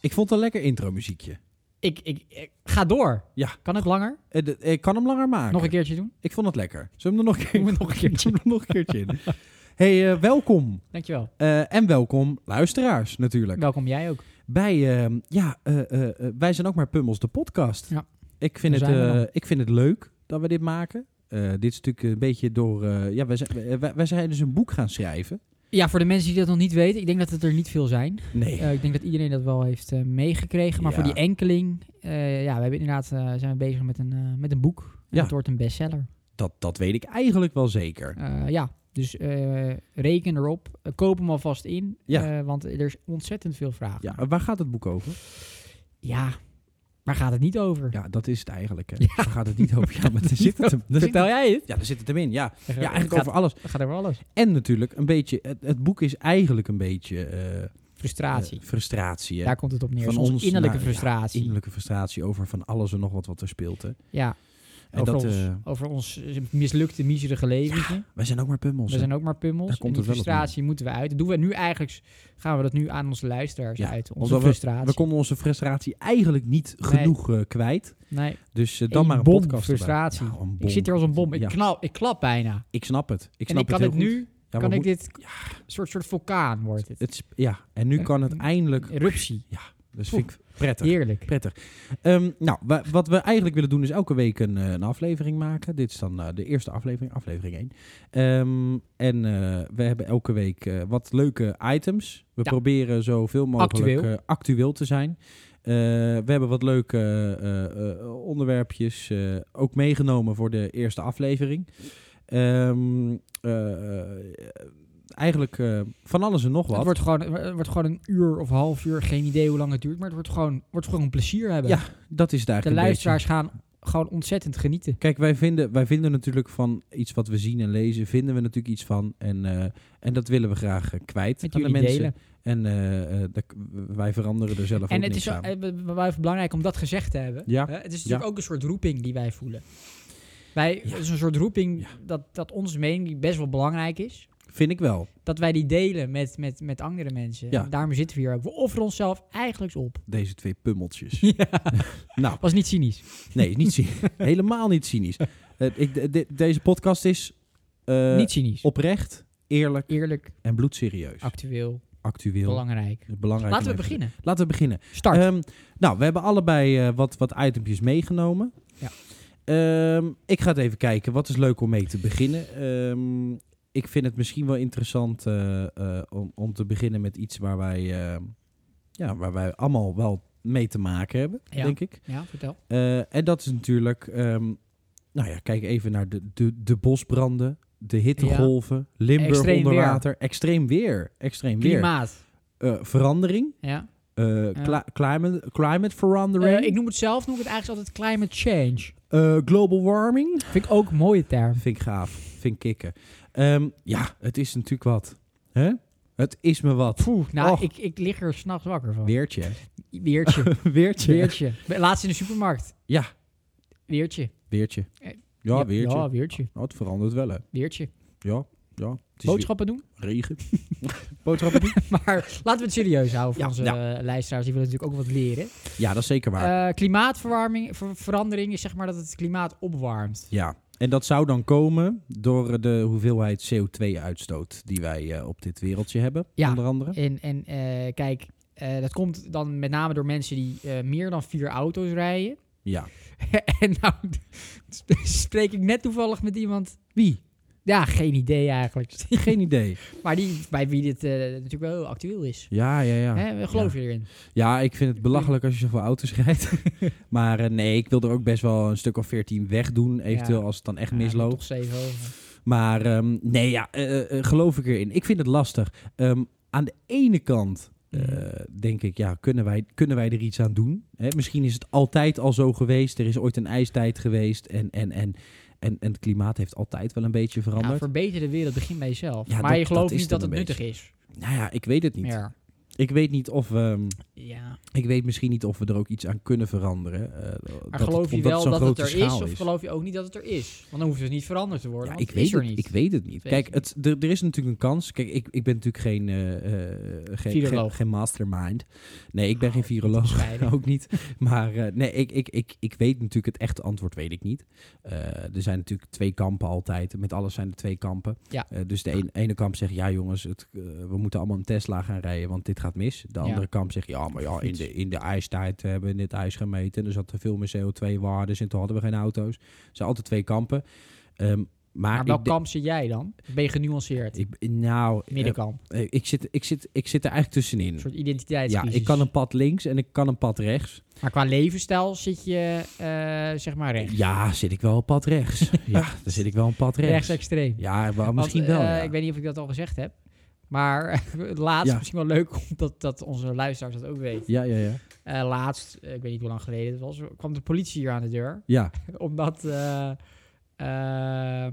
Ik vond het een lekker intro muziekje. Ik, ik, ik- ga door. Ja. Kan het langer? Eh, de- Ik kan hem langer maken. Nog een keertje doen? Ik vond het lekker. Zullen we hem er nog, Doen we nog een keertje. Zullen we hem nog een keertje in? hey, eh, welkom. Dankjewel. Eh, en welkom, luisteraars natuurlijk. Welkom jij ook. Bij, eh, ja, eh, eh, eh, wij zijn ook maar Pummels, de podcast. Ja. Ik, vind het, Daar zijn we eh, dan. ik vind het leuk dat we dit maken. Eh, dit is natuurlijk een beetje door... eh, ja, wij zijn, wij- wij, wij zijn dus een boek gaan schrijven. Ja, voor de mensen die dat nog niet weten, ik denk dat het er niet veel zijn. Nee. Eh, ik denk dat iedereen dat wel heeft eh, meegekregen. Maar Ja. voor die enkeling, eh, ja, we hebben inderdaad, eh, zijn we bezig met een, eh, met een boek. En Ja. Dat wordt een bestseller. dat, dat weet ik eigenlijk wel zeker. Eh, ja, dus eh, reken erop. Eh, koop hem alvast in, Ja. eh, want er is ontzettend veel vraag. Ja, waar gaat het boek over? Ja, waar gaat het niet over? Ja, dat is het eigenlijk. Hè. Ja. Waar gaat het niet over? Ja, maar daar zit het hem. daar zit Vertel het- jij het? Ja, daar zit het hem in. Ja, Ja, ja eigenlijk gaat, over alles. gaat over alles. En natuurlijk een beetje, het, het boek is eigenlijk een beetje eh, Frustratie. eh, frustratie. hè. Daar komt het op neer. Van Soms ons innerlijke naar- ja, frustratie. Ja, Innerlijke frustratie over van alles en nog wat wat er speelt. Hè. En over, dat, ons, eh, over ons mislukte, miserige leventje. wij zijn ook maar pummels. We hè. zijn ook maar pummels. Daar komt en het die wel op frustratie moeten we uit. Dat doen we nu eigenlijk, s- gaan we dat nu aan onze luisteraars Ja, uit. Onze omdat frustratie. We konden onze frustratie eigenlijk niet Nee. genoeg eh, kwijt. nee, Dus eh, dan Een maar een bom podcast erbij. frustratie. Ja, een bom. ik zit hier als een bom. Ik, Ja. knal, ik klap bijna. Ik snap het. Ik en snap ik kan heel het goed. nu, Ja, kan maar ik hoe- dit, soort, soort vulkaan wordt het. het is- ja, en nu Eh, kan het eindelijk... Eruptie. Dus vind ik prettig. Heerlijk. Prettig. Ehm, nou, wa- wat we eigenlijk willen doen is elke week een, eh, een aflevering maken. Dit is dan eh, de eerste aflevering, aflevering 1. Ehm, en eh, we hebben elke week eh, wat leuke items. We Ja. proberen zoveel mogelijk Actueel. eh, actueel te zijn. Eh, we hebben wat leuke eh, eh, onderwerpjes eh, ook meegenomen voor de eerste aflevering. Ehm, eh, eh, eigenlijk eh, van alles en nog wat. Het wordt gewoon, het wordt gewoon een uur of half uur. Geen idee hoe lang het duurt. Maar het wordt gewoon, wordt gewoon een plezier hebben. Ja, Dat is het eigenlijk de een beetje. luisteraars gaan gewoon ontzettend genieten. Kijk, wij vinden, wij vinden natuurlijk van iets wat we zien en lezen, vinden we natuurlijk iets van. En, eh, en dat willen we graag eh, kwijt Met aan de jullie mensen. delen. En eh, eh, dat- wij veranderen er zelf En ook het niks is aan. wel- eh, b- b- wel even belangrijk om dat gezegd te hebben. Ja. Hè, Het is natuurlijk Ja. ook een soort roeping die wij voelen. Wij, Ja. Het is een soort roeping Ja. dat, dat onze mening best wel belangrijk is. Vind ik wel. Dat wij die delen met, met, met andere mensen. Ja. En daarom zitten we hier ook. We offeren onszelf eigenlijk op. Deze twee pummeltjes. Ja. nou, Was niet cynisch. nee, niet cy- helemaal niet cynisch. Eh, ik, de- de- deze podcast is eh, niet cynisch. oprecht, eerlijk Eerlijk, en bloedserieus. actueel, Actueel. belangrijk. Belangrijk Laten om we even- beginnen. Laten we beginnen. Start. Ehm, nou, we hebben allebei eh, wat, wat itempjes meegenomen. Ja. Ehm, ik ga het even kijken. Wat is leuk om mee te beginnen? Ehm, ik vind het misschien wel interessant eh, eh, om, om te beginnen met iets waar wij, eh, ja, waar wij allemaal wel mee te maken hebben, Ja. denk ik. ja, vertel. Eh, en dat is natuurlijk, ehm, nou ja, kijk even naar de, de, de bosbranden, de hittegolven, Limburg Extreem onder weer. water, extreem weer, extreem weer, Klimaat. Eh, verandering. Ja. eh, cli- climate, climate verandering. Eh, ik noem het zelf, noem ik het eigenlijk altijd climate change. Eh, global warming. Vind ik ook een mooie term. Vind ik gaaf. Vind ik kicken. Ehm, ja, het is natuurlijk wat. Hè? Het is me wat. Poeh, nou, Och. ik, ik lig er s'nachts wakker van. Weertje. hè? Weertje. Weertje. Weertje. Laatst in de supermarkt. Ja. Weertje. Weertje. Eh, Ja, weertje. Ja, weertje. Nou, het verandert wel, hè. Weertje. Ja, ja. Het is Boodschappen doen. weer regen. Boodschappen doen? Maar laten we het serieus houden voor Ja, onze eh, luisteraars. Die willen natuurlijk ook wat leren. Ja, dat is zeker waar. Eh, klimaatverwarming, ver- verandering is zeg maar dat het klimaat opwarmt. ja. En dat zou dan komen door eh, de hoeveelheid CO2-uitstoot die wij eh, op dit wereldje hebben, Ja. onder andere. En, en eh, kijk, eh, dat komt dan met name door mensen die eh, meer dan vier auto's rijden. Ja. en nou spreek ik net toevallig met iemand. Wie? Ja, geen idee eigenlijk. Geen idee. maar die, bij wie dit eh, natuurlijk wel heel actueel is. Ja, ja, ja. Hè, geloof je erin? Ja, ik vind het belachelijk als je zoveel auto's rijdt. maar eh, nee, ik wil er ook best wel een stuk of veertien wegdoen. Eventueel Ja. als het dan echt Ja, misloopt. toch zeven over. Maar ehm, nee, ja, eh, eh, geloof ik erin. Ik vind het lastig. Ehm, aan de ene kant eh, Mhm. denk ik, ja, kunnen wij, kunnen wij er iets aan doen? Hè, misschien is het altijd al zo geweest. Er is ooit een ijstijd geweest. En, en, en, en, en het klimaat heeft altijd wel een beetje Ja, veranderd. verbeter de wereld, begin bij jezelf. Ja, maar dat- je gelooft dat is niet dat dan het een nuttig is. Nou ja, ik weet het niet. Meer. Ik weet niet of ehm, we, Ja. ik weet misschien niet of we er ook iets aan kunnen veranderen. eh, dat Maar het- geloof je omdat wel zo'n dat het grote er is, schaal of geloof je ook niet dat het er is? Want dan hoeft het dus niet veranderd te worden. Ja, want ik weet, is er het, niet. ik weet het niet. Weet Kijk, je het, er, er is natuurlijk een kans. Kijk, ik, ik ben natuurlijk geen, eh, eh, geen, geen, Viroloog. geen mastermind. Nee, ik ben Oh, geen niet te viroloog. bescheiden. ook niet. Maar eh, nee, ik, ik, ik, ik weet natuurlijk het echte antwoord, weet ik niet. Eh, er zijn natuurlijk twee kampen altijd. Met alles zijn er twee kampen. Ja. Eh, dus de een- ene kamp zegt, ja jongens, het, eh, we moeten allemaal een Tesla gaan rijden, want dit gaat mis. De Ja. andere kamp zegt, ja, maar ja, in de, in de ijstijd hebben we dit ijs gemeten. En er zat te veel meer CO2-waardes en toen hadden we geen auto's. Er zijn altijd twee kampen. Ehm, maar Maar welk ik de- kamp zit jij dan? Ben je genuanceerd? ik, nou, eh, Middenkamp. eh, ik, zit, ik, zit, ik zit er eigenlijk tussenin. Een soort Ja, identiteitscrisis. ik kan een pad links en ik kan een pad rechts. Maar qua levensstijl zit je, eh, zeg maar, rechts. Ja, zit ik wel een pad rechts. ja, dan zit ik wel een pad rechts. Rechtsextreem. Ja, wel, Want, misschien wel. eh, ja. Ik weet niet of ik dat al gezegd heb. Maar laatst, Ja. misschien wel leuk omdat dat onze luisteraars dat ook weten. ja, ja, ja. Eh, laatst, eh, ik weet niet hoe lang geleden het was, kwam de politie hier aan de deur. Ja, Omdat eh, ehm,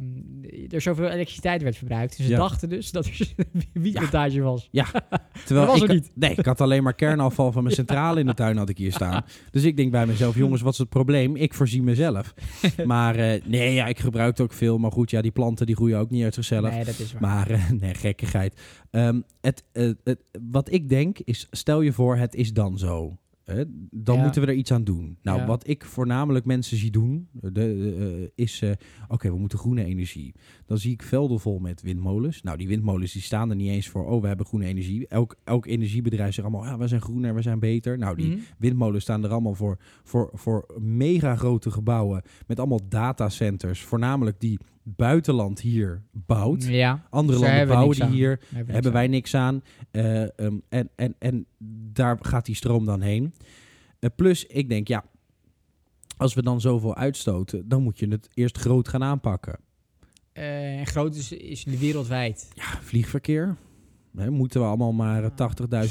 er zoveel elektriciteit werd verbruikt. Ze Ja. dachten dus dat er een wietmontage was. Terwijl Dat was ik, er had- Nee, ik had alleen maar kernafval van mijn centrale in de tuin had ik hier staan. Dus ik denk bij mezelf, jongens, wat is het probleem? Ik voorzie mezelf. Maar eh, nee, ja, ik gebruik het ook veel. Maar goed, ja, die planten die groeien ook niet uit zichzelf. Nee, dat is waar. Maar eh, nee, gekkigheid. Ehm, het, eh, het- wat ik denk is, stel je voor, het is dan zo. Hè, dan Ja. moeten we er iets aan doen. Nou, Ja. wat ik voornamelijk mensen zie doen, de, eh, is... eh, Oké, we moeten groene energie. Dan zie ik velden vol met windmolens. Nou, die windmolens die staan er niet eens voor... Oh, we hebben groene energie. Elk, elk energiebedrijf zegt allemaal... Ja, we zijn groener, we zijn beter. Nou, die Mhm. windmolens staan er allemaal voor, voor, voor mega grote gebouwen... met allemaal datacenters. Voornamelijk die buitenland hier bouwt. Ja, Andere Dus landen daar hebben we bouwen niks die aan. hier. daar we Hebben niks wij niks aan. Eh, ehm, en, en, en daar gaat die stroom dan heen. Eh, plus, ik denk, ja, als we dan zoveel uitstoten, dan moet je het eerst groot gaan aanpakken. aan. Eh, en groot is, is wereldwijd. Ja, vliegverkeer. Hè, moeten we allemaal maar eh,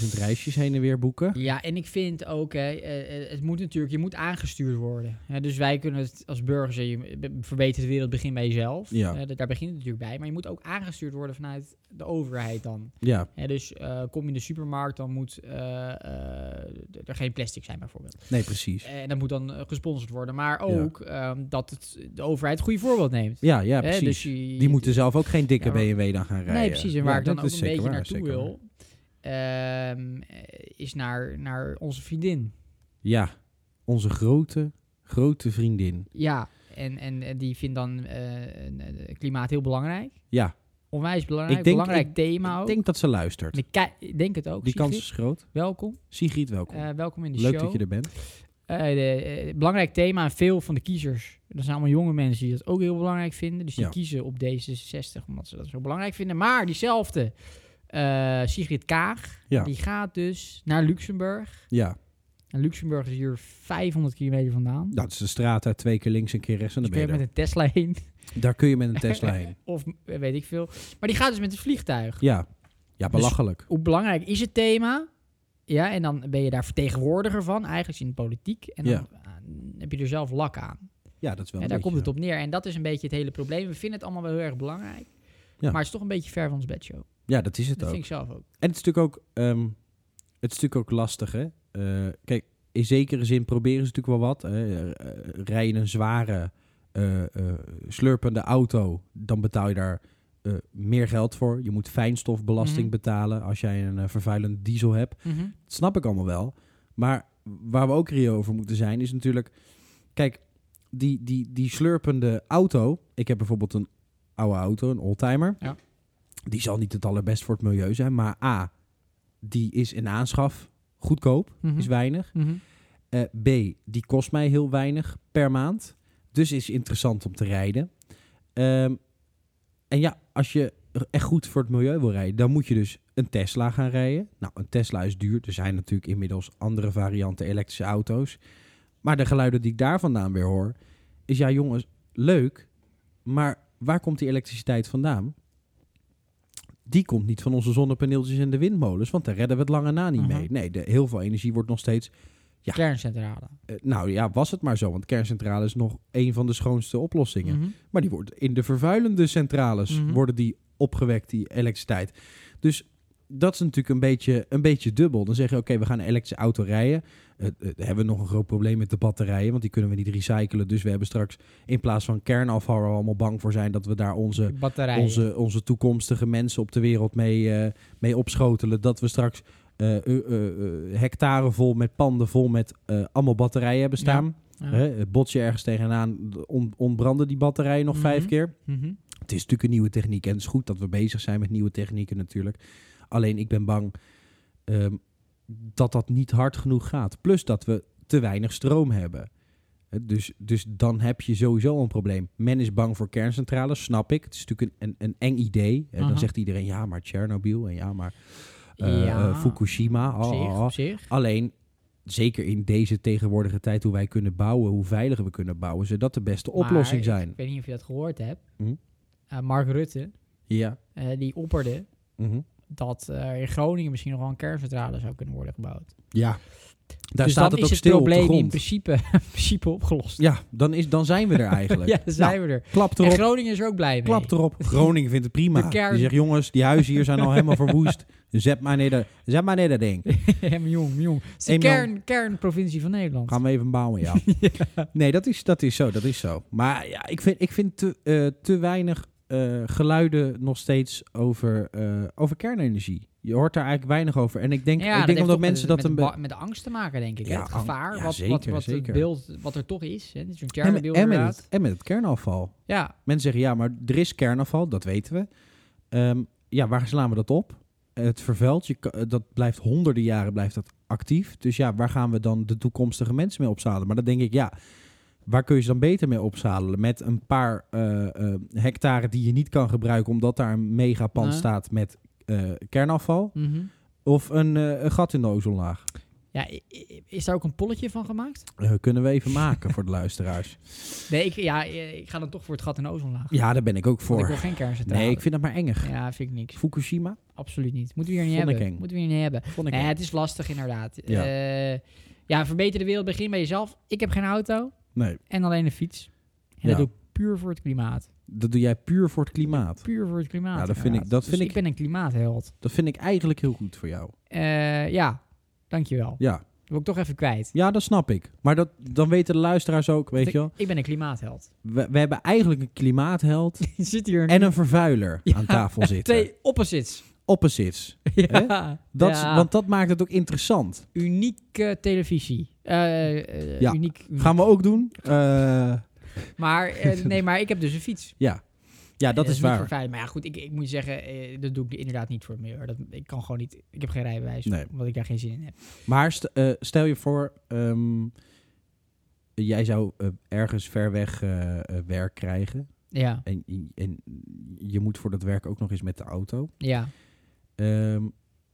80.000 reisjes heen en weer boeken? Ja, en ik vind ook, hè, eh, eh, het moet natuurlijk, je moet aangestuurd worden. Hè, dus wij kunnen het als burgers, eh, je be- verbetert de wereld, begin bij jezelf. Ja. Hè, dat- daar begint het natuurlijk bij. Maar je moet ook aangestuurd worden vanuit de overheid dan. Ja, Hè, dus eh, kom je in de supermarkt, dan moet eh, eh, d- er geen plastic zijn bijvoorbeeld. nee, precies. En dat moet dan eh, gesponsord worden. Maar ook ehm, dat het, de overheid het goede voorbeeld neemt. Ja, ja, Hè, precies. dus je- Die moeten zelf ook geen dikke Ja, maar- BMW dan gaan rijden. Nee, precies. En Ja, waar ik dan dat ook is een zeker beetje waar, naartoe zeker waar. wil, ehm, eh, is naar, naar onze vriendin. Ja, onze grote, grote vriendin. Ja, en, en eh, die vindt dan eh, een- eh, klimaat heel belangrijk. Ja, Onwijs belangrijk, Ik denk- belangrijk ik- thema ook. ik denk dat ze luistert. En Nou- ik kijk- ik denk het ook. Die kans Sigrid. is groot. Welkom. Sigrid, welkom. Eh, welkom in de Leuk show. dat je er bent. Eh, de, eh, belangrijk thema en veel van de kiezers. Dat zijn allemaal jonge mensen die dat ook heel belangrijk vinden. Dus die Ja. kiezen op D66 omdat ze dat zo belangrijk vinden. Maar diezelfde eh, Sigrid Kaag, Ja. die gaat dus naar Luxemburg. Ja, En Luxemburg is hier 500 kilometer vandaan. dat is de straat uit twee keer links en keer rechts en dus dan kun ben je je met er. een Tesla heen. Daar kun je met een Tesla heen. Of eh, weet ik veel. Maar die gaat dus met een vliegtuig. Ja, Dus- ja belachelijk. Hoe belangrijk is het thema? Ja, en dan ben je daar vertegenwoordiger van, eigenlijk in de politiek. En dan Ja. eh, heb je er zelf lak aan. Ja, dat is wel En een daar komt beetje het op neer. En dat is een beetje het hele probleem. We vinden het allemaal wel heel erg belangrijk. Ja. Maar het is toch een beetje ver van ons bedshow. zo. Ja, dat is het Dat vind ook. ik zelf ook. En het is natuurlijk ook, ehm, het is natuurlijk ook lastig, hè. Eh, kijk, in zekere zin proberen ze natuurlijk wel wat. Hè. Eh, eh, Rij je een zware, eh, eh, slurpende auto, dan betaal je daar eh, meer geld voor. Je moet fijnstofbelasting Mhm. betalen als jij een eh, vervuilend diesel hebt. Dat snap ik allemaal wel. Maar waar we ook reëel over moeten zijn, is natuurlijk... Kijk, die, die, die slurpende auto... Ik heb bijvoorbeeld een oude auto, een oldtimer. Ja. Die zal niet het allerbest voor het milieu zijn. Maar A, die is in aanschaf goedkoop. Mhm. Is weinig. Mhm. Eh, B, die kost mij heel weinig per maand. Dus is interessant om te rijden. Ehm, en ja, als je echt goed voor het milieu wil rijden, dan moet je dus een Tesla gaan rijden. Nou, een Tesla is duur. Er zijn natuurlijk inmiddels andere varianten elektrische auto's. Maar de geluiden die ik daar vandaan weer hoor, is ja, jongens, leuk. Maar waar komt die elektriciteit vandaan? Die komt niet van onze zonnepaneeltjes en de windmolens, want daar redden we het lange na niet Mhm. mee. Nee, de, heel veel energie wordt nog steeds Ja. Kerncentrale. eh, nou ja, was het maar zo. Want kerncentrale is nog een van de schoonste oplossingen. Mhm. Maar die wordt in de vervuilende centrales Mhm. worden die opgewekt, die elektriciteit. Dus dat is natuurlijk een beetje, een beetje dubbel. Dan zeggen we, oké, we gaan een elektrische auto rijden. Eh, eh, dan hebben we nog een groot probleem met de batterijen, want die kunnen we niet recyclen. Dus we hebben straks in plaats van kernafval waar we allemaal bang voor zijn... dat we daar onze Batterijen. onze, onze toekomstige mensen op de wereld mee, eh, mee opschotelen. Dat we straks eh, eh, eh, eh, hectare vol met panden vol met eh, allemaal batterijen hebben staan. Ja. Hè, het bots je ergens tegenaan, on- ontbranden die batterijen nog vijf Mhm. keer. Mhm. Het is natuurlijk een nieuwe techniek en het is goed dat we bezig zijn met nieuwe technieken natuurlijk. Alleen ik ben bang ehm, dat dat niet hard genoeg gaat. Plus dat we te weinig stroom hebben. Eh, Dus, dus dan heb je sowieso al een probleem. Men is bang voor kerncentrales, snap ik. Het is natuurlijk een, een, een eng idee. En dan Aha. zegt iedereen, ja, maar Tsjernobyl en ja, maar eh, Ja, eh, Fukushima. Op ah, zich, ah, ah. op zich. Alleen, zeker in deze tegenwoordige tijd, hoe wij kunnen bouwen, hoe veiliger we kunnen bouwen, zou dat de beste Maar oplossing zijn. Ik weet niet of je dat gehoord hebt. Hm? Eh, Mark Rutte, Ja. eh, die opperde Mhm. dat eh, in Groningen misschien nog wel een kerncentrale zou kunnen worden gebouwd. Ja. Daar staat dus dan het is ook het stil op de probleem in grond. principe, in principe opgelost. Ja, dan, is, dan zijn we er eigenlijk. Ja, daar zijn we er. Klap En erop, Groningen is er ook blij mee. klap erop. Groningen vindt het prima. De kern. Die zegt, jongens, die huizen hier zijn al helemaal verwoest. Zet maar neer, dat- zet maar neer dat ding. Hem jong, jong. Het is de Eén man. kern, kernprovincie van Nederland. Gaan we even bouwen, ja. Nee, dat is, dat is zo, dat is zo. Maar ja, ik vind, ik vind te, eh, te weinig eh, geluiden nog steeds over, eh, over kernenergie. Je hoort daar eigenlijk weinig over. En ik denk, Ja, ik denk heeft omdat toch mensen met, dat een... met, be- de ba- met de angst te maken, denk ik. Ja, hè? het gevaar, ang- ja, wat, wat, zeker, wat zeker. het beeld wat er toch is. Hè? Zo'n en, met- Chernobyl en, met inderdaad. het, en met het kernafval. Ja, Mensen zeggen, ja, maar er is kernafval, dat weten we. Ehm, ja, waar slaan we dat op? Het vervuilt, je, ka- eh, dat blijft honderden jaren blijft dat actief. Dus ja, waar gaan we dan de toekomstige mensen mee opzadelen? Maar dan denk ik, ja, waar kun je ze dan beter mee opzadelen? Met een paar eh, eh, hectare die je niet kan gebruiken... omdat daar een megapand Ja. staat met eh, kernafval. mhm. Of een, eh, een gat in de ozonlaag. ja, i- i- is daar ook een polletje van gemaakt? Eh, kunnen we even maken voor de luisteraars. Nee, ik, ja, eh, ik ga dan toch voor het gat in de ozonlaag. Ja, daar ben ik ook Want ik voor. wil geen kerncentrale. Nee, ik vind dat maar engig. Ja, vind ik niks. Fukushima? Absoluut niet. Moeten we hier niet Vond ik hebben. eng. Moeten we hier niet hebben. Vond ik Eh, eng. het is lastig inderdaad. Ja. Eh, ja, verbeter de wereld, begin bij jezelf. Ik heb geen auto Nee, en alleen een fiets. En Ja. dat doe ik puur voor het klimaat. dat doe jij puur voor het klimaat. Puur voor het klimaat. Ja, Nou, dat vind ik- inderdaad. dat Dus vind ik- ben een klimaatheld. Dat vind ik eigenlijk heel goed voor jou. Eh, ja, dankjewel. Dat Ja, wil ik toch even kwijt. ja dat snap ik. Maar dat, dan weten de luisteraars ook, weet Ik- je wel. Ik ben een klimaatheld. We, we hebben eigenlijk een klimaatheld Je zit hier en een vervuiler Ja, aan tafel zitten. twee opposites. Opposites. ja. Dat, is- Ja. Want dat maakt het ook interessant. Unieke televisie. Eh, eh, Ja. uniek, uniek. Gaan we ook doen? Eh, Maar, eh, nee, maar ik heb dus een fiets. Eh, ja. ja, dat is niet waar. vervuilend. Maar ja, goed, ik, ik moet zeggen, eh, dat doe ik inderdaad niet voor het milieu. hoor. Dat, ik kan gewoon niet, ik heb geen rijbewijs, Nee. omdat ik daar geen zin in heb. Maar st- eh, stel je voor, ehm, jij zou eh, ergens ver weg eh, eh, werk krijgen. Ja, En, en je moet voor dat werk ook nog eens met de auto. ja. Ehm,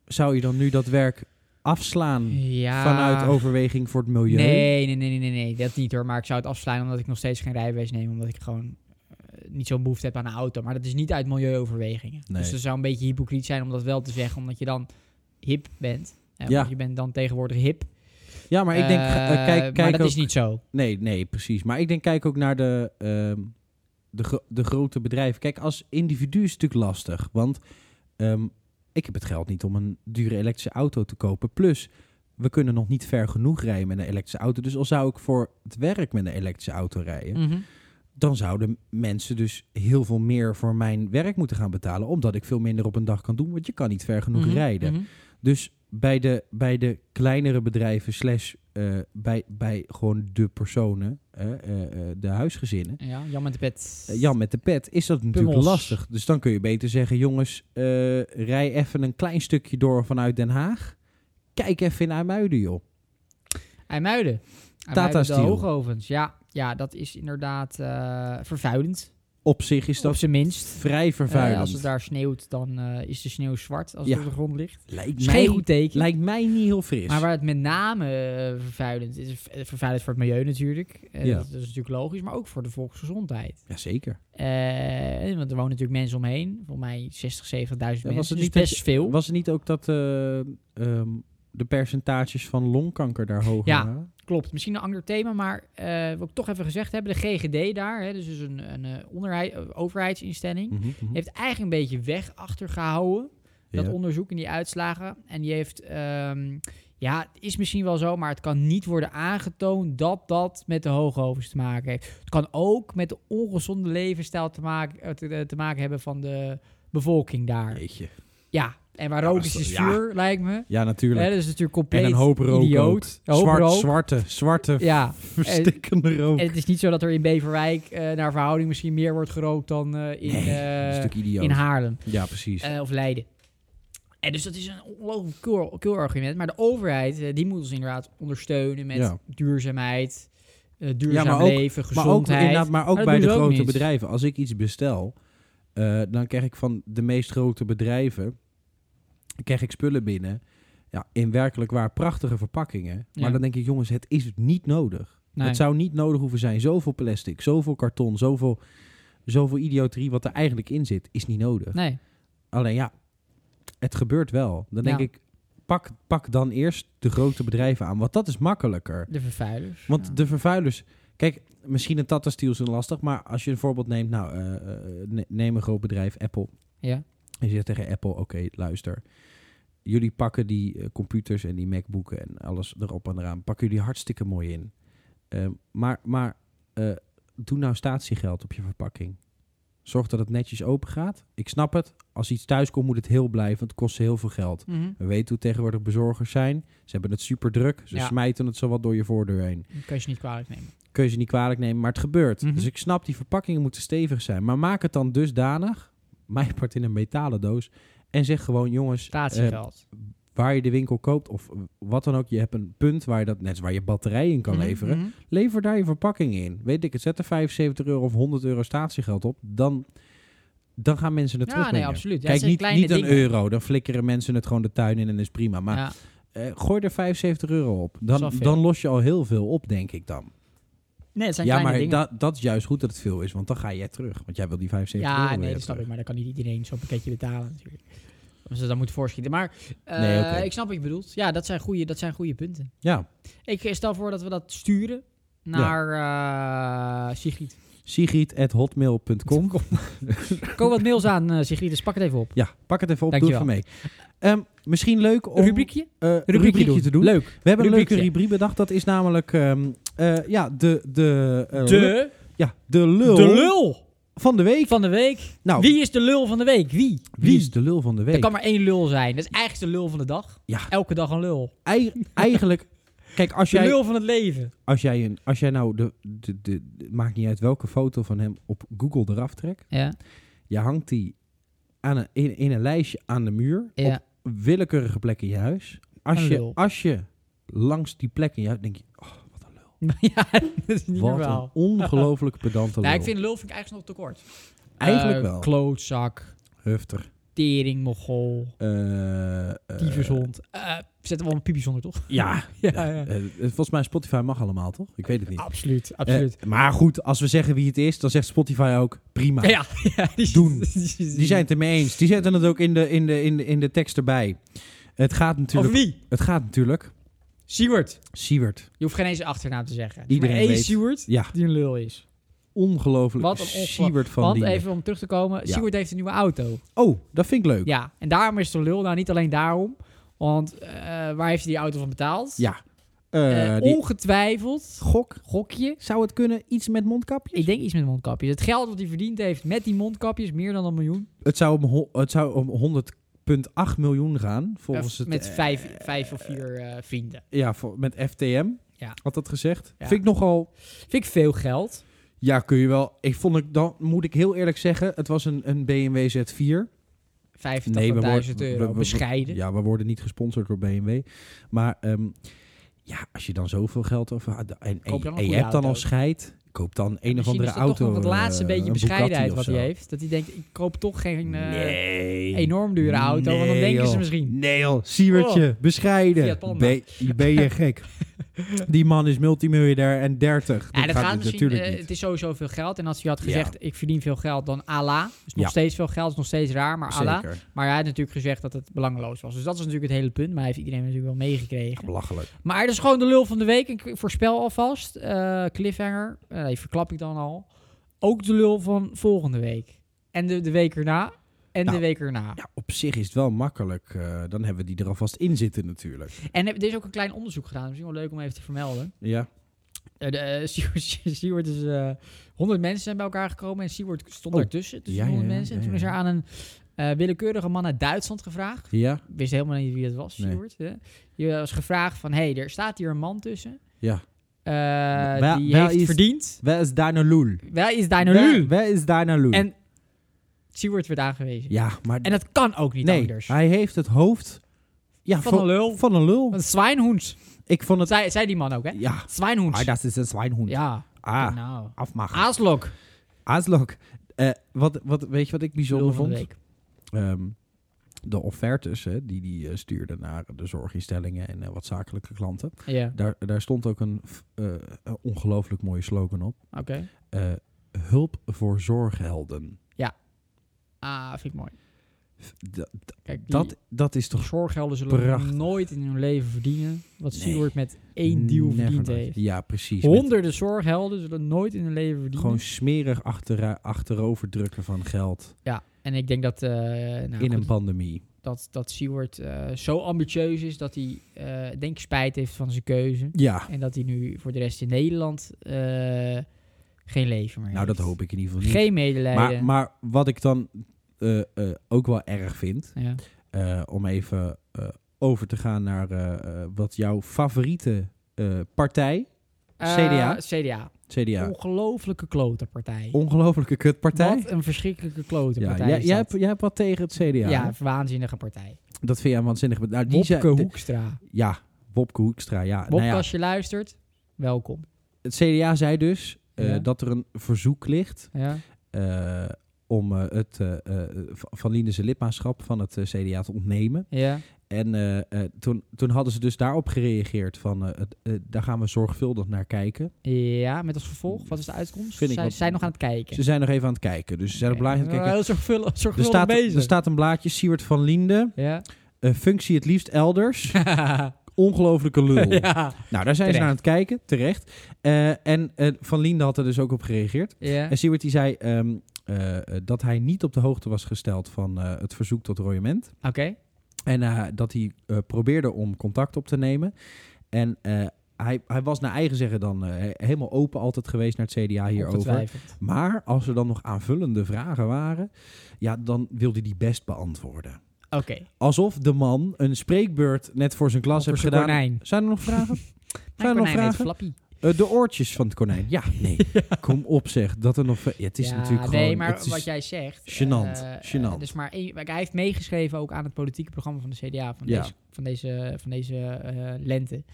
zou je dan nu dat werk afslaan? ja. Hm. Vanuit overweging voor het milieu. Nee, nee, nee, nee, nee, nee, dat niet hoor. Maar ik zou het afslaan omdat ik nog steeds geen rijbewijs neem, omdat ik gewoon eh, niet zo'n behoefte heb aan een auto. Maar dat is niet uit milieuoverwegingen. Nee. Dus dat zou een beetje hypocriet zijn om dat wel te zeggen, omdat je dan hip bent. Eh, Ja. want Je bent dan tegenwoordig hip. Ja, maar ik denk. ga- eh, Eh, kijk, maar kijk dat ook, is niet zo. Nee, nee, precies. Maar ik denk, kijk ook naar de, ehm, de, gro- de grote bedrijven. Kijk, als individu is het natuurlijk lastig. Want ehm, ik heb het geld niet om een dure elektrische auto te kopen. Plus, we kunnen nog niet ver genoeg rijden met een elektrische auto. Dus al zou ik voor het werk met een elektrische auto rijden. Mhm. dan zouden mensen dus heel veel meer voor mijn werk moeten gaan betalen. Omdat ik veel minder op een dag kan doen. Want je kan niet ver genoeg Mhm, rijden. mhm. Dus bij de, bij de kleinere bedrijven, slash eh, bij, bij gewoon de personen, eh, eh, eh, de huisgezinnen. Ja, Jan met de pet. eh, Jan met de pet, is dat natuurlijk Pummels. lastig. Dus dan kun je beter zeggen, jongens, eh, rij even een klein stukje door vanuit Den Haag. Kijk even in IJmuiden, joh. IJmuiden. Tata IJmuiden, de Steel. Hoogovens. Ja, ja, dat is inderdaad eh, vervuilend. Op zich is Is dat dat op zijn minst. vrij Eh, vervuilend. als het daar sneeuwt, dan eh, is de sneeuw zwart als Ja. het op de grond ligt. lijkt, Dat is geen mij, goed teken. lijkt mij niet heel fris. maar waar het met name eh, vervuilend is, eh, vervuilend voor het milieu natuurlijk. Eh, Ja. dat, dat is natuurlijk logisch, maar ook voor de volksgezondheid. Jazeker. Eh, want er wonen natuurlijk mensen omheen. Volgens mij 60, 70.000 mensen. was het dus niet dat best veel. Was het niet ook dat eh, ehm, de percentages van longkanker daar hoger Ja. waren? Klopt, misschien een ander thema, maar eh wil ik toch even gezegd hebben. De GGD daar, hè, dus is een, een eh, onderhei- eh, overheidsinstelling, Mhm, mhm. heeft eigenlijk een beetje weg achtergehouden dat Ja. onderzoek en die uitslagen. En die heeft, ehm, ja, het is misschien wel zo, maar het kan niet worden aangetoond dat dat met de hoogovens te maken heeft. Het kan ook met de ongezonde levensstijl te maken, eh, te, eh, te maken hebben van de bevolking daar. Jeetje. Ja, en waar Ja, rook maar is zo- is ja. vuur, lijkt me. Ja, Hè, natuurlijk. dat is natuurlijk compleet En een hoop rook ook. idioot. Een hoop Zwart, rook. Zwarte, zwarte, Ja, verstikkende rook. en het is niet zo dat er in Beverwijk eh, naar verhouding misschien meer wordt gerookt dan eh, in, Nee, eh, dat is natuurlijk idioot. in Haarlem. ja, precies. Eh, of Leiden. En dus dat is een ongelooflijk cool, cool argument. Maar de overheid, eh, die moet ons inderdaad ondersteunen met Ja. duurzaamheid, eh, duurzaam maar ook- leven, maar ook, gezondheid. inderdaad, maar ook Maar dat bij de doen ze ook grote niet. bedrijven. Als ik iets bestel, eh, dan krijg ik van de meest grote bedrijven krijg ik spullen binnen. Ja, in werkelijk waar prachtige verpakkingen. Ja. Maar dan denk ik, jongens, het is niet nodig. Nee. Het zou niet nodig hoeven zijn. Zoveel plastic, zoveel karton, zoveel, zoveel idioterie wat er eigenlijk in zit, is niet nodig. nee, Alleen ja, het gebeurt wel. Dan denk Ja. ik, pak, pak dan eerst de grote bedrijven aan. Want dat is makkelijker. de vervuilers. Want ja. de vervuilers. Kijk, misschien een Tata Steel is een lastig, maar als je een voorbeeld neemt, nou, eh, eh, ne- neem een groot bedrijf, Apple. Ja. En je zegt tegen Apple, oké, luister. Jullie pakken die eh, computers en die MacBooken en alles erop en eraan, pakken jullie hartstikke mooi in. Eh, maar maar eh, doe nou statiegeld op je verpakking. Zorg dat het netjes open gaat. Ik snap het. Als iets thuis komt, moet het heel blijven, want het kost heel veel geld. Mhm. We weten hoe tegenwoordig bezorgers zijn. Ze hebben het super druk. Ze Ja. smijten het zo wat door je voordeur heen Dat kan je niet kwalijk nemen. kun je ze niet kwalijk nemen, maar het gebeurt. Mhm. Dus ik snap, die verpakkingen moeten stevig zijn. Maar maak het dan dusdanig, mijn part in een metalen doos, en zeg gewoon, jongens, eh, Statiegeld. waar je de winkel koopt of wat dan ook, je hebt een punt waar je dat, net als waar je batterij in kan Mhm, leveren, mhm. lever daar je verpakking in. Weet ik het, zet er 75 euro of 100 euro statiegeld op, dan, dan gaan mensen het Ja, nee, terugbrengen. absoluut. Ja, het Kijk, zijn niet, kleine niet een dingen. euro, dan flikkeren mensen het gewoon de tuin in en is prima. Maar Ja. eh, gooi er 75 euro op, Zo dan, veel. dan los je al heel veel op, denk ik dan. Nee, het zijn Ja, kleine maar dingen. dat, dat is juist goed dat het veel is, want dan ga jij terug. Want jij wil die 75 euro Ja, weer nee, dat hebben snap ik. terug. Maar dan kan niet iedereen zo'n pakketje betalen natuurlijk. Omdat ze dat moeten voorschieten. Maar eh, Nee, oké. ik snap wat je bedoelt. Ja, dat zijn goede, dat zijn goede punten. Ja, Ik eh, stel voor dat we dat sturen naar eh, Sigrid. sigrid.hotmail.com. Kom wat mails aan, eh, Sigrid. Dus pak het even op. Ja, pak het even op, Dankjewel. doe het van mee. Ehm, misschien leuk om Rubriekje? eh, Rubriekje, doen. te doen. Leuk. We hebben een leuke Rubriekje. rubriek bedacht. Dat is namelijk ehm, eh, ja, de, de, eh, lul- De, ja, de, lul de lul van de week. van de week. Nou, Wie is de lul van de week? Wie? wie is de lul van de Er week? kan maar één lul zijn. Dat is eigenlijk de lul van de dag. Ja. Elke dag een lul. Ei- eigenlijk, kijk, als De jij, lul van het leven. als jij, een, als jij nou, de, de, de, de- maakt niet uit welke foto van hem op Google eraf trekt. Ja. Je hangt die aan een, in, in een lijstje aan de muur. ja. willekeurige plek in je huis. Een Als, je, lul. als je langs die plek in je huis denk je, oh, wat een lul. ja, dat is niet Wat een normaal. ongelooflijk pedante lul. Nee, Nou, ik vind lul vind ik eigenlijk nog te kort. Eigenlijk Eh, wel. Klootzak, Hufter. tering, mogol, Eh, eh, tyfushond. Eh, zet hem wel een piepje zonder, toch? ja. Ja, ja, ja. eh, volgens mij Spotify mag allemaal, toch? Ik weet het niet. Absoluut, absoluut. Eh, maar goed, als we zeggen wie het is, dan zegt Spotify ook prima. ja, ja, die Doen. die- Die zijn het ermee eens. Die zetten het ook in de, in de, in de, in de tekst erbij. Het gaat Of natuurlijk, wie? het gaat natuurlijk Siewert. Siewert. Je hoeft geen eens achternaam te zeggen. Het is Iedereen maar één weet- Siewert Ja, die een lul is. ongelooflijk. Wat een ongeloo- Siewert van Want Lier. even om terug te komen, Ja. Siewert heeft een nieuwe auto. Oh, dat vind ik leuk. Ja, en daarom is het een lul. Nou, niet alleen daarom. Want eh, waar heeft hij die auto van betaald? Ja. Eh, Eh, die- Ongetwijfeld. Gok. Gokje. Zou het kunnen? Iets met mondkapjes? Ik denk iets met mondkapjes. Het geld wat hij verdiend heeft met die mondkapjes, meer dan een miljoen. Het zou om, ho- het zou om 100,8 miljoen gaan. Volgens Eh, het, met eh, vijf, vijf of vier eh, vrienden. ja, voor- met FTM Ja. had dat gezegd. Ja. Vind ik nogal... Vind ik veel geld. Ja, kun je wel. Ik vond ik, dan moet ik heel eerlijk zeggen, het was een, een BMW Z4. 85.000 we- euro. we- we- Bescheiden. Ja, we worden niet gesponsord door BMW. Maar ehm, ja, als je dan zoveel geld over... En, en, Koop dan een en je goede hebt dan auto. al scheid, koop dan een of Misschien andere is dat auto. toch nog het laatste eh, beetje een Bugatti bescheidenheid of wat zo. hij heeft. Dat hij denkt, ik koop toch geen eh, nee. enorm dure auto. want dan Nee, denken ze joh. misschien. Oh. Nee joh, Siewertje, bescheiden. Fiat Panda. Ben, ben je gek? Die man is multimiljardair en 30. Ja, dat gaat dus misschien, natuurlijk eh, niet. het is sowieso veel geld. En als hij had Ja. gezegd, ik verdien veel geld, dan ala. Dus nog Ja. steeds veel geld, is nog steeds raar, maar eh, ala. Zeker. Maar hij had natuurlijk gezegd dat het belangeloos was. Dus dat is natuurlijk het hele punt. Maar hij heeft iedereen natuurlijk wel meegekregen. Belachelijk. Maar dat is gewoon de lul van de week. Ik voorspel alvast. eh, cliffhanger. Eh, die verklap ik dan al. Ook de lul van volgende week. En de, de week erna. en Nou, de week erna. Ja, op zich is het wel makkelijk. eh, dan hebben we die er alvast in zitten natuurlijk. En er er is ook een klein onderzoek gedaan, misschien wel leuk om even te vermelden. Ja, Eh, de, eh, Seward- Seward is... eh 100 mensen zijn bij elkaar gekomen en Seward stond Oh. ertussen. Tussen Ja, ja, 100 ja, mensen. En ja, toen ja. is er aan een eh, willekeurige man uit Duitsland gevraagd. ja, Wist helemaal niet wie dat was, Nee. Seward. Hè? Je was gevraagd van, hé, hey, er staat hier een man tussen. ja. eh, Wel- die wel heeft is- verdiend. Waar is Dino Loel? Wel is daar nu? Waar is Dino Loel? En Seward werd aangewezen. ja, maar En dat kan ook niet nee, anders. hij heeft het hoofd ja, Van een lul. Van een lul. Een zwijnhoens. Ik vond Dat het... zei, zei die man ook, hè? Ja, Zwijnhoens. ah, dat is een zwijnhoen. Ja, Ah, nou. afmaken. Aaslok. Aaslok. Eh, wat, wat, weet je wat ik bijzonder Lul van de vond? week. Ehm, de offertes hè, die die eh, stuurde naar de zorginstellingen en eh, wat zakelijke klanten. Ja, Daar, daar stond ook een, f- eh, een ongelooflijk mooie slogan op. oké. Eh, hulp voor zorghelden. Ah, vind ik mooi. F- da- Kijk, dat, dat is toch zorggelden zullen prachtig. nooit in hun leven verdienen wat Nee. Seward met één deal never verdiend nooit. heeft. Ja, precies. Met Honderden zorghelden zullen nooit in hun leven verdienen. Gewoon smerig achtera- achterover drukken van geld Ja, en ik denk dat, eh, nou, in goed, een pandemie. dat, dat Seward eh, zo ambitieus is dat hij, eh, denk ik, spijt heeft van zijn keuze. Ja, En dat hij nu voor de rest in Nederland eh, geen leven meer nou dat heeft. hoop ik in ieder geval niet. Geen medelijden. maar, maar wat ik dan eh, eh, ook wel erg vind, ja. eh, om even eh, over te gaan naar eh, eh, wat jouw favoriete eh, partij, CDA? Eh, CDA. CDA. Ongelooflijke klotenpartij. Ongelofelijke kutpartij. Wat een verschrikkelijke ja, klotenpartij jij, is jij, dat. hebt, jij hebt wat tegen het CDA. Ja, hè? een waanzinnige partij. Dat vind jij een waanzinnig. Nou, die Wopke zei- de- Hoekstra. ja, Wopke Hoekstra. Ja. Wopke, nou ja, als je luistert, welkom. het CDA zei dus eh, Ja. dat er een verzoek ligt Ja. eh, om eh, het, eh, eh, Van Lienen zijn lidmaatschap van het eh, CDA te ontnemen. Ja. En eh, eh, toen, toen hadden ze dus daarop gereageerd van eh, het, eh, daar gaan we zorgvuldig naar kijken. ja, met als gevolg, wat is de uitkomst? Vind ik Zij wat- zijn nog aan het kijken. Ze zijn nog even aan het kijken. Dus ze zijn op Oké. blaadje aan het kijken. Heel zorgvuldig, Er zorgvuldig staat, bezig. er staat een blaadje, Siewert van Liende. Ja. eh, functie het liefst elders. Ongelofelijke lul. ja. Nou, daar zijn ze Terecht. naar aan het kijken, terecht. Eh, en eh, Van Liende had er dus ook op gereageerd. ja. En Siewert die zei ehm, eh, eh, dat hij niet op de hoogte was gesteld van eh, het verzoek tot royement. Oké. En eh, dat hij eh, probeerde om contact op te nemen. En eh, hij, hij was naar eigen zeggen dan eh, helemaal open altijd geweest naar het CDA hierover. Ongetwijfeld. Maar als er dan nog aanvullende vragen waren, ja, dan wilde hij die best beantwoorden. Oké. Alsof de man een spreekbeurt net voor zijn klas Voor heeft zijn gedaan. konijn. Zijn er nog vragen? Mijn Zijn er nog konijn heet vragen? Flappy. Eh, de oortjes van het konijn. Ja, nee. Kom op zeg, dat er nog... Ja, het is Ja, natuurlijk nee, gewoon... maar het is- wat jij zegt. gênant, eh, eh, gênant. dus maar één- kijk, hij heeft meegeschreven ook aan het politieke programma van de CDA van Ja. deze, van deze, van deze eh, lente.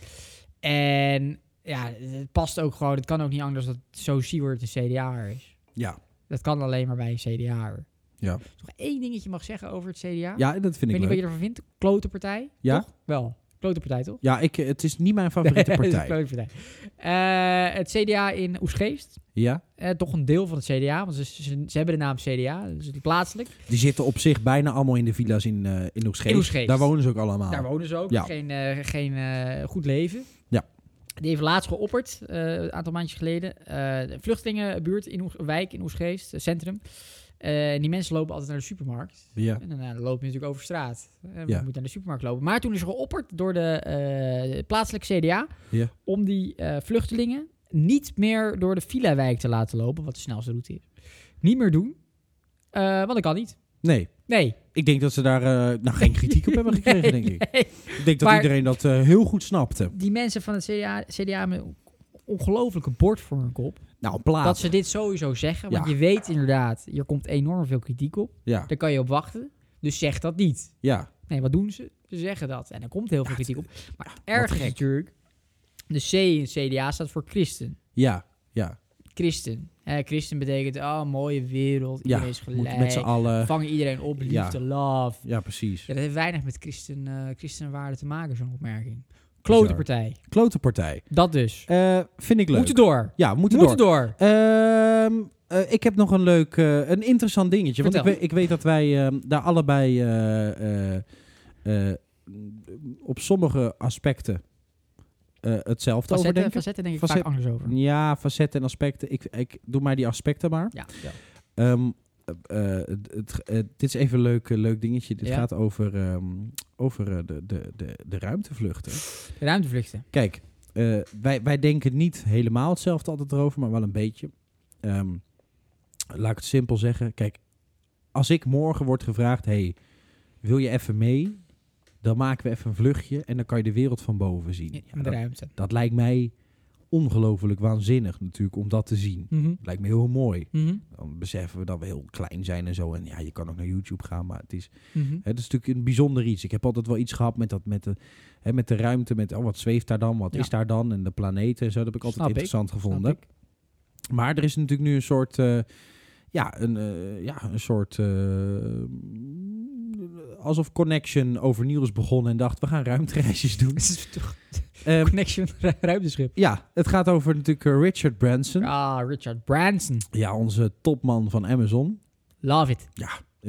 En ja, het past ook gewoon. Het kan ook niet anders dat zo Seward een CDA is. Ja. Dat kan alleen maar bij een CDA. er. Ja. Als ik Nog één dingetje mag zeggen over het CDA. ik ja, dat vind weet ik niet leuk. wat je ervan vindt. Klote partij. Ja? Toch? Wel. Klote partij toch? Ja, ik, eh, het is niet mijn favoriete Het is een partij. klote partij. Eh, het CDA in Oesgeest. Ja? Eh, toch een deel van het CDA, want ze, ze, ze hebben de naam CDA, dus het plaatselijk. Die zitten op zich bijna allemaal in de villa's in, eh in Oegstgeest. In Oegstgeest. Daar wonen ze ook allemaal. Daar wonen ze ook. Ah. Ja. Geen, eh, geen eh, goed leven. Ja. Die heeft laatst geopperd, eh, een aantal maandjes geleden. eh, de vluchtelingenbuurt in Oes- wijk in Oesgeest, eh, centrum. Eh, en die mensen lopen altijd naar de supermarkt. ja. En dan eh, lopen je natuurlijk over straat. Eh, En we Ja. moeten naar de supermarkt lopen. Maar toen is er geopperd door de eh, plaatselijke CDA... Ja. om die eh, vluchtelingen niet meer door de villa-wijk te laten lopen... wat de snelste route is. Niet meer doen, eh, want dat kan niet. Nee, Nee. ik denk dat ze daar eh, nou, geen kritiek op hebben gekregen, Nee, denk ik. nee. Ik denk dat Maar- iedereen dat eh, heel goed snapte. Die mensen van het CDA, CDA met een ongelofelijke bord voor hun kop. Nou, Dat plaats. ze dit sowieso zeggen. Want Ja. je weet inderdaad, hier komt enorm veel kritiek op. Ja, Daar kan je op wachten. Dus zeg dat niet. ja. Nee, wat doen ze? Ze zeggen dat. En er komt heel veel kritiek op. Maar het erg is gek. natuurlijk, de C in CDA staat voor christen. Ja, ja. Christen. Eh, christen betekent, oh, mooie wereld. Ja, Iedereen is Moet met z'n gelijk. allen. Vangen iedereen op, Ja. liefde, love. Ja, precies. Ja, dat heeft weinig met christen, eh christenwaarden te maken, zo'n opmerking. Bizar. Klote partij. Klote partij. Dat dus. Eh, vind ik leuk. Moeten door. ja, we moeten Moeten door. door. Ehm, eh, ik heb nog een leuk, eh, een interessant dingetje. Want ik, Vertel. weet- ik weet dat wij ehm, daar allebei eh, eh, eh, op sommige aspecten eh, hetzelfde Facetten, over denken. facetten denk ik Facet- Mm. vaak anders over. Ja, facetten en aspecten. Ik, ik doe maar die aspecten maar. Ja, ja. Ehm, eh, het, het- eh, dit is even een leuk, eh, leuk dingetje. Dit Ja. gaat over, ehm, over eh, de, de, de, de ruimtevluchten. De ruimtevluchten. Kijk, eh, wij, wij denken niet helemaal hetzelfde altijd erover, maar wel een beetje. Ehm, laat ik het simpel zeggen. Kijk, als ik morgen word gevraagd: hey, wil je even mee? Dan maken we even een vluchtje en dan kan je de wereld van boven zien. In Ja, de dat, ruimte. dat lijkt mij ongelooflijk waanzinnig natuurlijk om dat te zien. Mhm. Dat lijkt me heel mooi. Mhm. Dan beseffen we dat we heel klein zijn en zo. En ja, je kan ook naar YouTube gaan, maar het is Mhm. het is natuurlijk een bijzonder iets. Ik heb altijd wel iets gehad met, dat, met, de, hè, met de ruimte. Met oh, wat zweeft daar dan? Wat Ja. is daar dan? En de planeten en zo. Dat heb ik altijd Snap ik. interessant Snap gevonden. ik. Maar er is natuurlijk nu een soort. eh, ja, een, eh, ja, een soort. eh, alsof Connection overnieuw is begonnen en dacht: we gaan ruimtereisjes doen. Het is toch Ehm, Connection ru- ruimteschip. ja, het gaat over natuurlijk eh, Richard Branson. Ja. Ah, Richard Branson. onze topman van Amazon. Love it.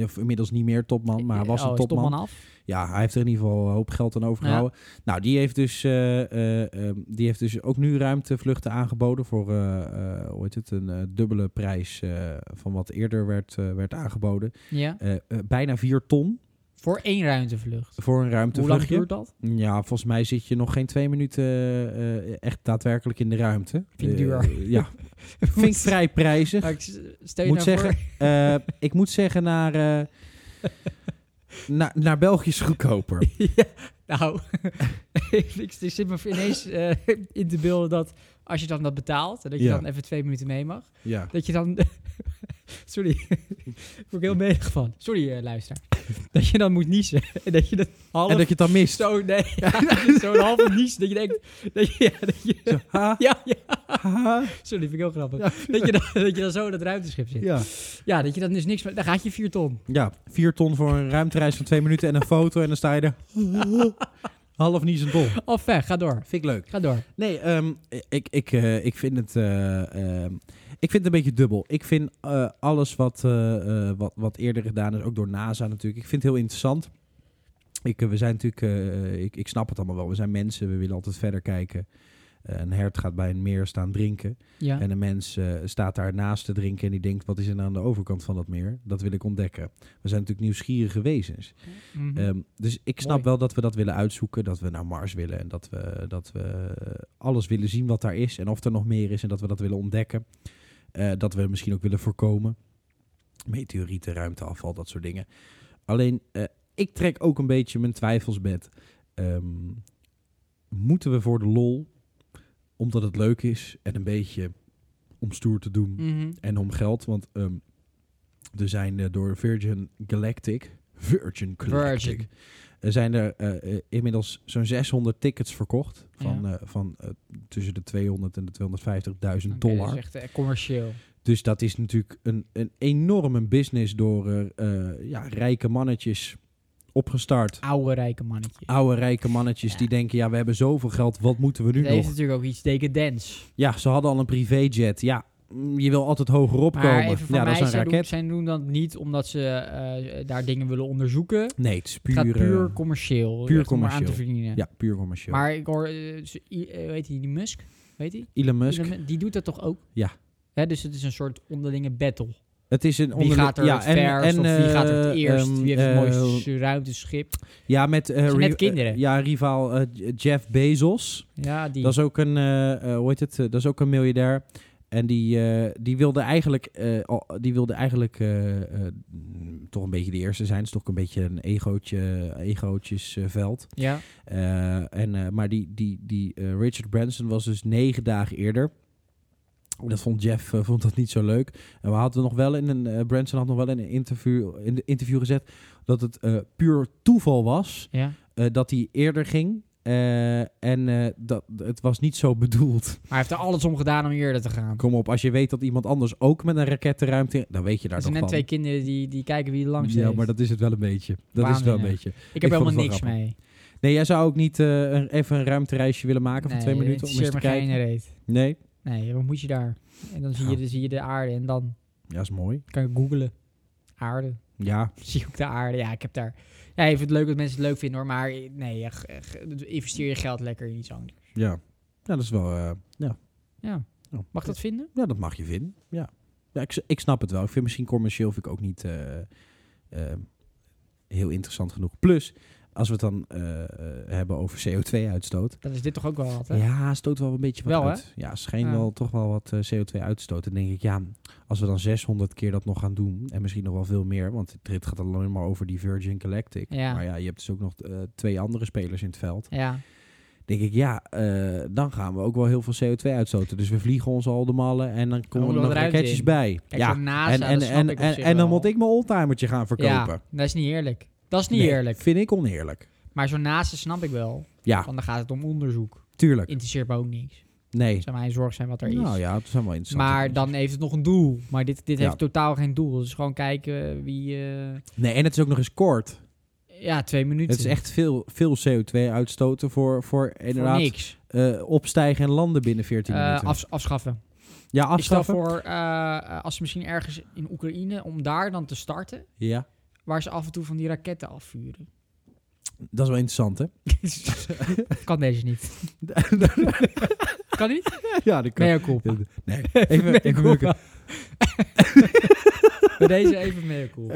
Of inmiddels niet meer topman, maar hij was Oh, een is topman. af. Ja, hij heeft er in ieder geval een hoop geld aan overgehouden. Nou, die heeft, dus, eh, eh, ehm, die heeft dus ook nu ruimtevluchten aangeboden voor, eh, eh, hoe heet het, een eh, dubbele prijs eh, van wat eerder werd, eh, werd aangeboden. Ja. Eh, eh, bijna 4 ton Voor één ruimtevlucht. voor een Hoe lang ruimtevluchtje. duurt dat? Ja, volgens mij zit je nog geen twee minuten eh, eh, echt daadwerkelijk in de ruimte. Vind ik Eh, duur. ja, vind ik vrij prijzig. Nou, ik s- stel je Moet nou zeggen, voor... Eh, ik moet zeggen, naar, eh, naar, naar België is goedkoper. Ja, nou, ik ik zit me ineens eh, in te beelden dat als je dan dat betaalt... en dat je Ja. dan even twee minuten mee mag... Ja. dat je dan... Sorry, ik word ik heel medig van. Sorry, eh, luisteraar. Dat je dan moet niezen. En dat je dat half... En dat je het dan mist. Zo, nee. Zo'n halve nies. Dat je denkt... Dat je, ja, dat je, Zo, ha, ja, ja. ha. Sorry, vind ik heel grappig. Ja. Dat, je dan, dat je dan zo in dat ruimteschip zit. Ja, Ja. dat je dan dus niks... meer- Dan gaat je vier ton. ja, vier ton voor een ruimtereis van twee minuten en een foto en dan sta je er half niet zijn dol. Of weg, ga door. Vind ik leuk. Ga door. Nee, ehm, ik, ik, eh, ik vind het... eh, ehm, ik vind het een beetje dubbel. Ik vind eh, alles wat, eh, eh, wat, wat eerder gedaan is, ook door NASA natuurlijk, ik vind het heel interessant. Ik, eh, we zijn natuurlijk, eh, ik, ik snap het allemaal wel. We zijn mensen, we willen altijd verder kijken. Eh, een hert gaat bij een meer staan drinken. Ja. En een mens eh, staat daarnaast te drinken en die denkt, wat is er nou aan de overkant van dat meer? Dat wil ik ontdekken. We zijn natuurlijk nieuwsgierige wezens. Mhm. Ehm, dus ik snap Mooi. wel dat we dat willen uitzoeken, dat we naar Mars willen en dat we, dat we eh, alles willen zien wat daar is en of er nog meer is en dat we dat willen ontdekken. Eh, dat we misschien ook willen voorkomen. Meteorieten, ruimteafval, dat soort dingen. Alleen, eh, ik trek ook een beetje mijn twijfels met. Ehm, moeten we voor de lol, omdat het leuk is en een beetje om stoer te doen, Mhm. en om geld, want ehm, er zijn eh, door Virgin Galactic, Virgin Galactic, Virgin. er zijn er eh, eh, inmiddels zo'n 600 tickets verkocht van, eh, van eh, tussen de 200 en de 250.000 Oké, dollar. dat is echt eh, commercieel. Dus dat is natuurlijk een, een enorme business door eh, eh, ja, rijke mannetjes opgestart. Oude rijke mannetje. Oude rijke mannetjes Ja. die denken, ja, we hebben zoveel geld, wat moeten we nu Dat heeft nog? natuurlijk ook iets decadents. Ja, ze hadden al een privéjet. Ja, mm, je wil altijd hoger opkomen. Maar even van ja, dat mij, is een zij doen, raket. zij doen dat niet omdat ze eh, daar dingen willen onderzoeken. Nee, het is Het puur... gaat puur eh, commercieel. puur echt om maar aan commercieel. te verdienen. Ja, puur commercieel. Maar ik hoor, eh, ze- i- eh, hoe heet die, die Musk? Weet die? Elon Musk, Elon Mu- Die doet dat toch ook? Ja. Hè, dus het is een soort onderlinge battle. het is een Wie onderling- gaat er ja, het verst of wie gaat er het eh, eerst? ehm, wie heeft het eh, mooiste ruimteschip? Ja, met, eh, zijn net ri- kinderen. eh, ja, rivaal eh, J- Jeff Bezos. Ja, die. Dat is ook een, eh, eh, hoe heet het? Eh, dat is ook een miljardair. En die, eh, die wilde eigenlijk, eh, al- die wilde eigenlijk eh, eh, mm, toch een beetje de eerste zijn. Het is toch een beetje een egootje, egootjesveld. ja. Eh, en, eh, maar die, die, die eh, Richard Branson was dus negen dagen eerder. Dat vond Jeff eh, vond dat niet zo leuk. En we hadden nog wel in een eh, Branson had nog wel in een interview, in de interview gezet dat het eh, puur toeval was ja. eh, dat hij eerder ging. Eh, en eh, dat, het was niet zo bedoeld. Maar hij heeft er alles om gedaan om eerder te gaan. Kom op, als je weet dat iemand anders ook met een raket de ruimte in... Dan weet je daar Er toch zijn van. net twee kinderen die, die kijken wie er langs ja, heeft. maar dat is het wel een beetje. Dat is het wel een Waanzinnig. beetje. ik heb ik vond helemaal het wel niks grappig. mee. Nee, jij zou ook niet eh, een- even een ruimtereisje willen maken van twee Nee, minuten om eens het te interesseert me geen kijken? reet. Nee? Nee, wat moet je daar? En dan zie, Ja. je, dan zie je de aarde en dan Ja, is mooi. kan ik googelen. Aarde. Ja, Zie ik ook de aarde. Ja, ik heb daar... Ja, ik vind het leuk dat mensen het leuk vinden hoor. Maar nee, echt, echt, investeer je geld lekker in iets anders. Oh, Ja, ja dat is wel. eh, ja. Ja. Ja. Mag ik dat vinden? ja, dat mag je vinden. Ja. Ja, ik, s- ik snap het wel. Ik vind misschien commercieel vind ik ook niet eh, eh, heel interessant genoeg. Plus, als we het dan eh, eh, hebben over CO2-uitstoot. Dat is dit toch ook wel wat, hè? Ja, stoot wel een beetje wat Wel, hè? uit. Ja, schijnt Ja. wel toch wel wat eh, CO2 uit te stoten. Dan denk ik, ja, als we dan 600 keer dat nog gaan doen... en misschien nog wel veel meer... want het- dit gaat alleen maar over die Virgin Galactic. Ja. Maar ja, je hebt dus ook nog eh, twee andere spelers in het veld. Ja. denk ik, ja, eh, dan gaan we ook wel heel veel CO2 uitstoten. Dus we vliegen ons al de mallen en dan komen we er wel nog eruit raketjes in. bij. Kijk, ja. zo'n NASA, En, en, dat snap en, ik op en, zich en wel. dan moet ik mijn oldtimertje gaan verkopen. Ja, dat is niet eerlijk. Dat is niet Nee, eerlijk. Vind ik oneerlijk. Maar zo'n naaste snap ik wel. Ja, Want dan gaat het om onderzoek. tuurlijk. Interesseert me ook niks. Nee. Zou mijn zorg zijn wat er is. Nou ja, het is allemaal interessant. maar dan heeft het nog een doel. Maar dit, dit Ja. heeft totaal geen doel. Dus gewoon kijken wie... eh, Nee, en het is ook nog eens kort. ja, twee minuten. Het is echt veel, veel CO2 uitstoten voor, voor Voor inderdaad niks. eh, opstijgen en landen binnen 14 Eh, minuten. afs- afschaffen. ja, Ik stel afschaffen. voor, eh, eh, als ze misschien ergens in Oekraïne, om daar dan te starten, Ja, waar ze af en toe van die raketten afvuren. dat is wel interessant, hè? kan deze niet. kan niet? ja, dat kan. Mea culpa. Nee, even, even Mea bukken. culpa. Bij deze even mea culpa.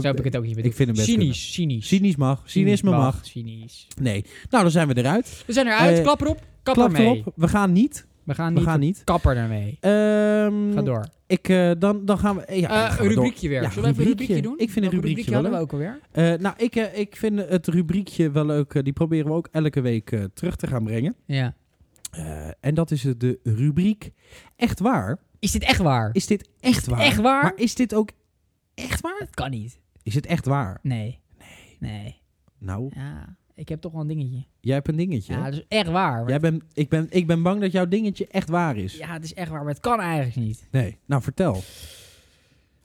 Zo heb ik het ook niet bedoeld. Eh, ik vind hem best cynisch, kunnen. cynisch. Cynisch mag. Cynisme mag. Cynisch. Nee. Nou, dan zijn we eruit. We zijn eruit. Eh, klap erop. Kap Klap ermee. erop. We gaan niet. We gaan We niet. gaan niet. Kapper ermee. Ehm, Ga door. Ik, eh, dan, dan gaan we... eh, Ja, dan Eh, gaan een we door. rubriekje weer. Ja, Zullen we even een rubriekje. rubriekje doen? Ik vind een Welk rubriekje wel hadden we ook alweer. Eh, nou, ik, eh, ik vind het rubriekje wel leuk. Eh, die proberen we ook elke week eh, terug te gaan brengen. Ja. Eh, en dat is de rubriek Echt Waar. Is dit echt waar? Is dit echt waar? Echt waar? Maar is dit ook echt waar? Dat kan niet. Is het echt waar? Nee. Nee. Nee. Nou, Ja. Ik heb toch wel een dingetje. jij hebt een dingetje. Ja, hè? dat is echt waar. maar- jij bent, ik, ben, ik ben bang dat jouw dingetje echt waar is. Ja, het is echt waar, maar het kan eigenlijk niet. Nee, nou vertel.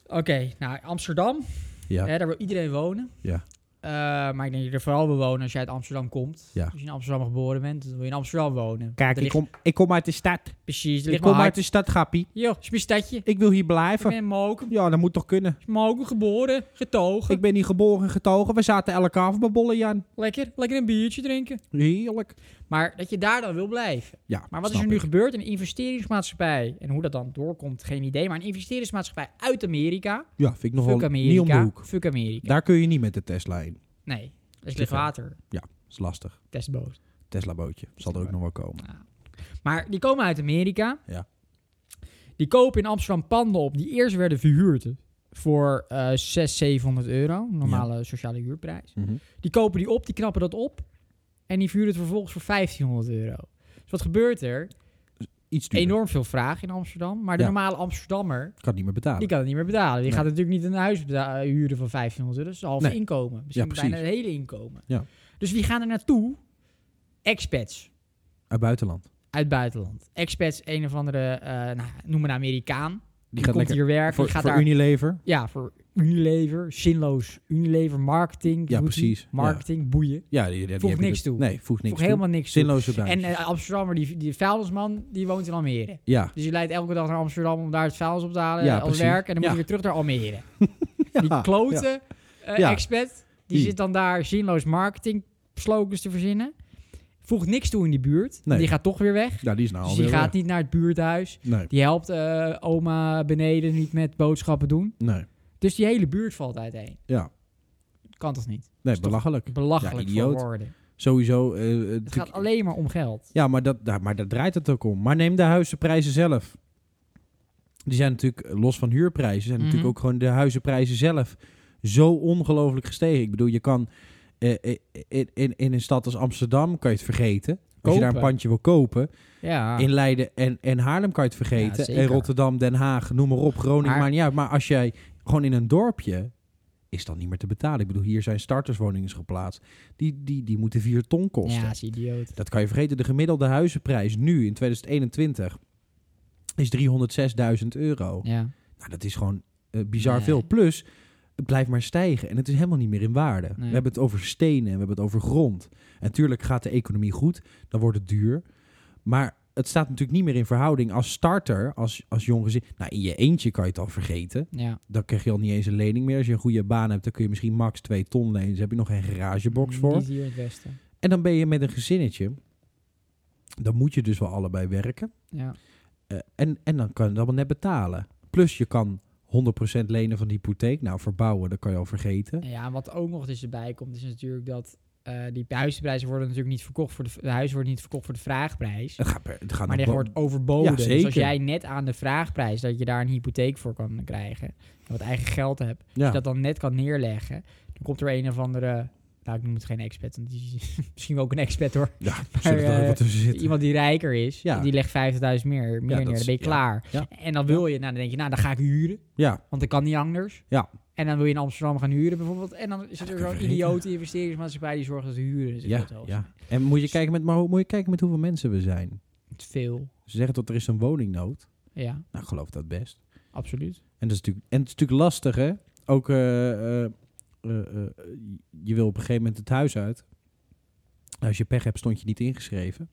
Oké, nou, Amsterdam, Ja. hè, daar wil iedereen wonen. Ja. Eh, maar ik denk dat je er vooral wil wonen als je uit Amsterdam komt. Ja. Als je in Amsterdam geboren bent, dan wil je in Amsterdam wonen. Kijk, Daar ik ligt- kom, ik kom uit de stad. Precies, er Ik ligt kom mijn uit Oh. hart. de stad, Gappie. Yo, is mijn stadje. Ik Ik wil hier ben blijven. in Mokum. Ja, dat moet toch kunnen. Is Mokum geboren, getogen. Ik ben hier geboren en getogen. We zaten elke avond bij bollen, Jan. Lekker, lekker een biertje drinken. Heerlijk. Maar dat je daar dan wil blijven. Ja, Maar wat is snap er nu ik. gebeurd? Een investeringsmaatschappij, en hoe dat dan doorkomt, geen idee. Maar een investeringsmaatschappij uit Amerika. Ja, vind ik nog Fuck wel niet om de Amerika. hoek. Fuck Amerika. Daar kun je niet met de Tesla in. Nee, dat is licht water. is lastig. Testboot. Tesla bootje. Zal er ook nog wel komen. Maar die komen uit Amerika. Ja. Die kopen in Amsterdam panden op die eerst werden verhuurd voor eh 600, 700 euro. Normale sociale huurprijs. Mhm. Die kopen die op, die knappen dat op. En die verhuren het vervolgens voor 1500 euro. Dus wat gebeurt er? Iets duurder. Enorm veel vraag in Amsterdam. Maar de Ja. normale Amsterdammer, Kan niet meer betalen. die kan het niet meer betalen. Ah. Die Nee. gaat natuurlijk niet een huis beta- eh, huren van 1500 euro. Dat is half Nee. inkomen. Misschien precies. bijna het hele inkomen. Ja. Dus wie gaan er naartoe? Expats. Uit buitenland. uit buitenland. Expats, een of andere, eh nou, noem een Amerikaan. Die, Die komt gaat lekker hier werken. voor, die gaat voor daar, Unilever. ja, voor Unilever, zinloos. Unilever, marketing. Ja, doet die. preets, ja. Marketing, boeien. Ja, die, die- die Voegt heb je niks dus- toe. Nee, voegt niks Voor helemaal niks. toe. Zinloze toe. bedrijf. En eh, Amsterdammer, die, die vuilnisman, die woont in Almere. ja, Dus je leidt elke dag naar Amsterdam om daar het vuilnis op te halen Ja, als precies. werk. En dan moet Ja. je weer terug naar Almere. Ja, Die klote eh, Ja. expat, die, Die. zit dan daar zinloos marketing slogans te verzinnen. Voegt niks toe in die buurt. Nee. Die gaat toch weer weg. ja, die is nou Dus alweer die gaat weg. niet naar het buurthuis. Nee, Die helpt eh, oma beneden niet met boodschappen doen. nee. Dus die hele buurt valt uiteen. Ja. Kan toch niet? Nee, toch belachelijk. Belachelijk Ja, voor idioot. woorden. Sowieso. eh, eh, Het natuurlijk- gaat alleen maar om geld. Ja, maar, dat, daar, maar daar draait het ook om. Maar neem de huizenprijzen zelf. Die zijn natuurlijk, eh, los van huurprijzen, zijn Mhm. natuurlijk ook gewoon de huizenprijzen zelf zo ongelooflijk gestegen. Ik bedoel, je kan eh, eh, in, in, in een stad als Amsterdam, kan je het vergeten. Als je daar een Kopen. pandje wil kopen. Ja. In Leiden en, en Haarlem kan je het Ja, vergeten. zeker. en Rotterdam, Den Haag, noem maar op. Groningen, Maar- maar, niet uit. Maar als jij gewoon in een dorpje, is dat niet meer te betalen. Ik bedoel, hier zijn starterswoningen geplaatst. Die, die, die moeten vier ton kosten. ja, is idioot. Dat kan je vergeten. De gemiddelde huizenprijs nu in 2021 is 306.000 euro. Ja. Nou, dat is gewoon eh, bizar Nee. veel. Plus, het blijft maar stijgen en het is helemaal niet meer in waarde. We hebben het over stenen en we hebben het over grond. En tuurlijk gaat de economie goed, dan wordt het duur. Maar het staat natuurlijk niet meer in verhouding als starter, als, als jong gezin. Nou, in je eentje kan je het al vergeten. ja. Dan krijg je al niet eens een lening meer. Als je een goede baan hebt, dan kun je misschien max 2 ton lenen. Dus heb je nog geen garagebox voor. Niet hier in het Westen. En dan ben je met een gezinnetje. Dan moet je dus wel allebei werken. Ja. Eh, en, en dan kan je het allemaal net betalen. Plus je kan 100% lenen van de hypotheek. Nou, verbouwen, dat kan je al vergeten. Ja, en wat ook nog dus erbij komt, is natuurlijk dat eh, die huizenprijzen worden natuurlijk niet verkocht voor de, de huizen worden niet verkocht voor de vraagprijs. Het gaat, per- het gaat Maar die nog- wordt overboden. nou, Ja, Dus zeker. als jij net aan de vraagprijs dat je daar een hypotheek voor kan krijgen, en wat eigen geld hebt, ja. als je dat dan net kan neerleggen, dan komt er een of andere. Nou, ik noem het geen expert, want die is misschien wel ook een expert hoor. Ja, er zullen er eh, ook wat tussen zitten. Iemand die rijker is, Ja. die legt 50.000 meer, meer dat neer, dan is- ben je ja. klaar. Ja. En dan wil je, nou dan denk je, nou dan ga ik huren, Ja, want dat kan niet anders. Ja. En dan wil je in Amsterdam gaan huren bijvoorbeeld. En dan is er kan zo'n je idiote investeringsmaatschappij die zorgt dat de huren Dus zit. ja, ja. En moet je, kijken met, maar hoe- moet je kijken met hoeveel mensen we zijn. Veel. Ze zeggen dat er is een woningnood. Ja, Nou, ik geloof dat best. absoluut. En, dat is natuurlijk, en het is natuurlijk lastig, hè? Ook, eh, eh, eh, eh, je wil op een gegeven moment het huis uit. Als je pech hebt, stond je niet ingeschreven.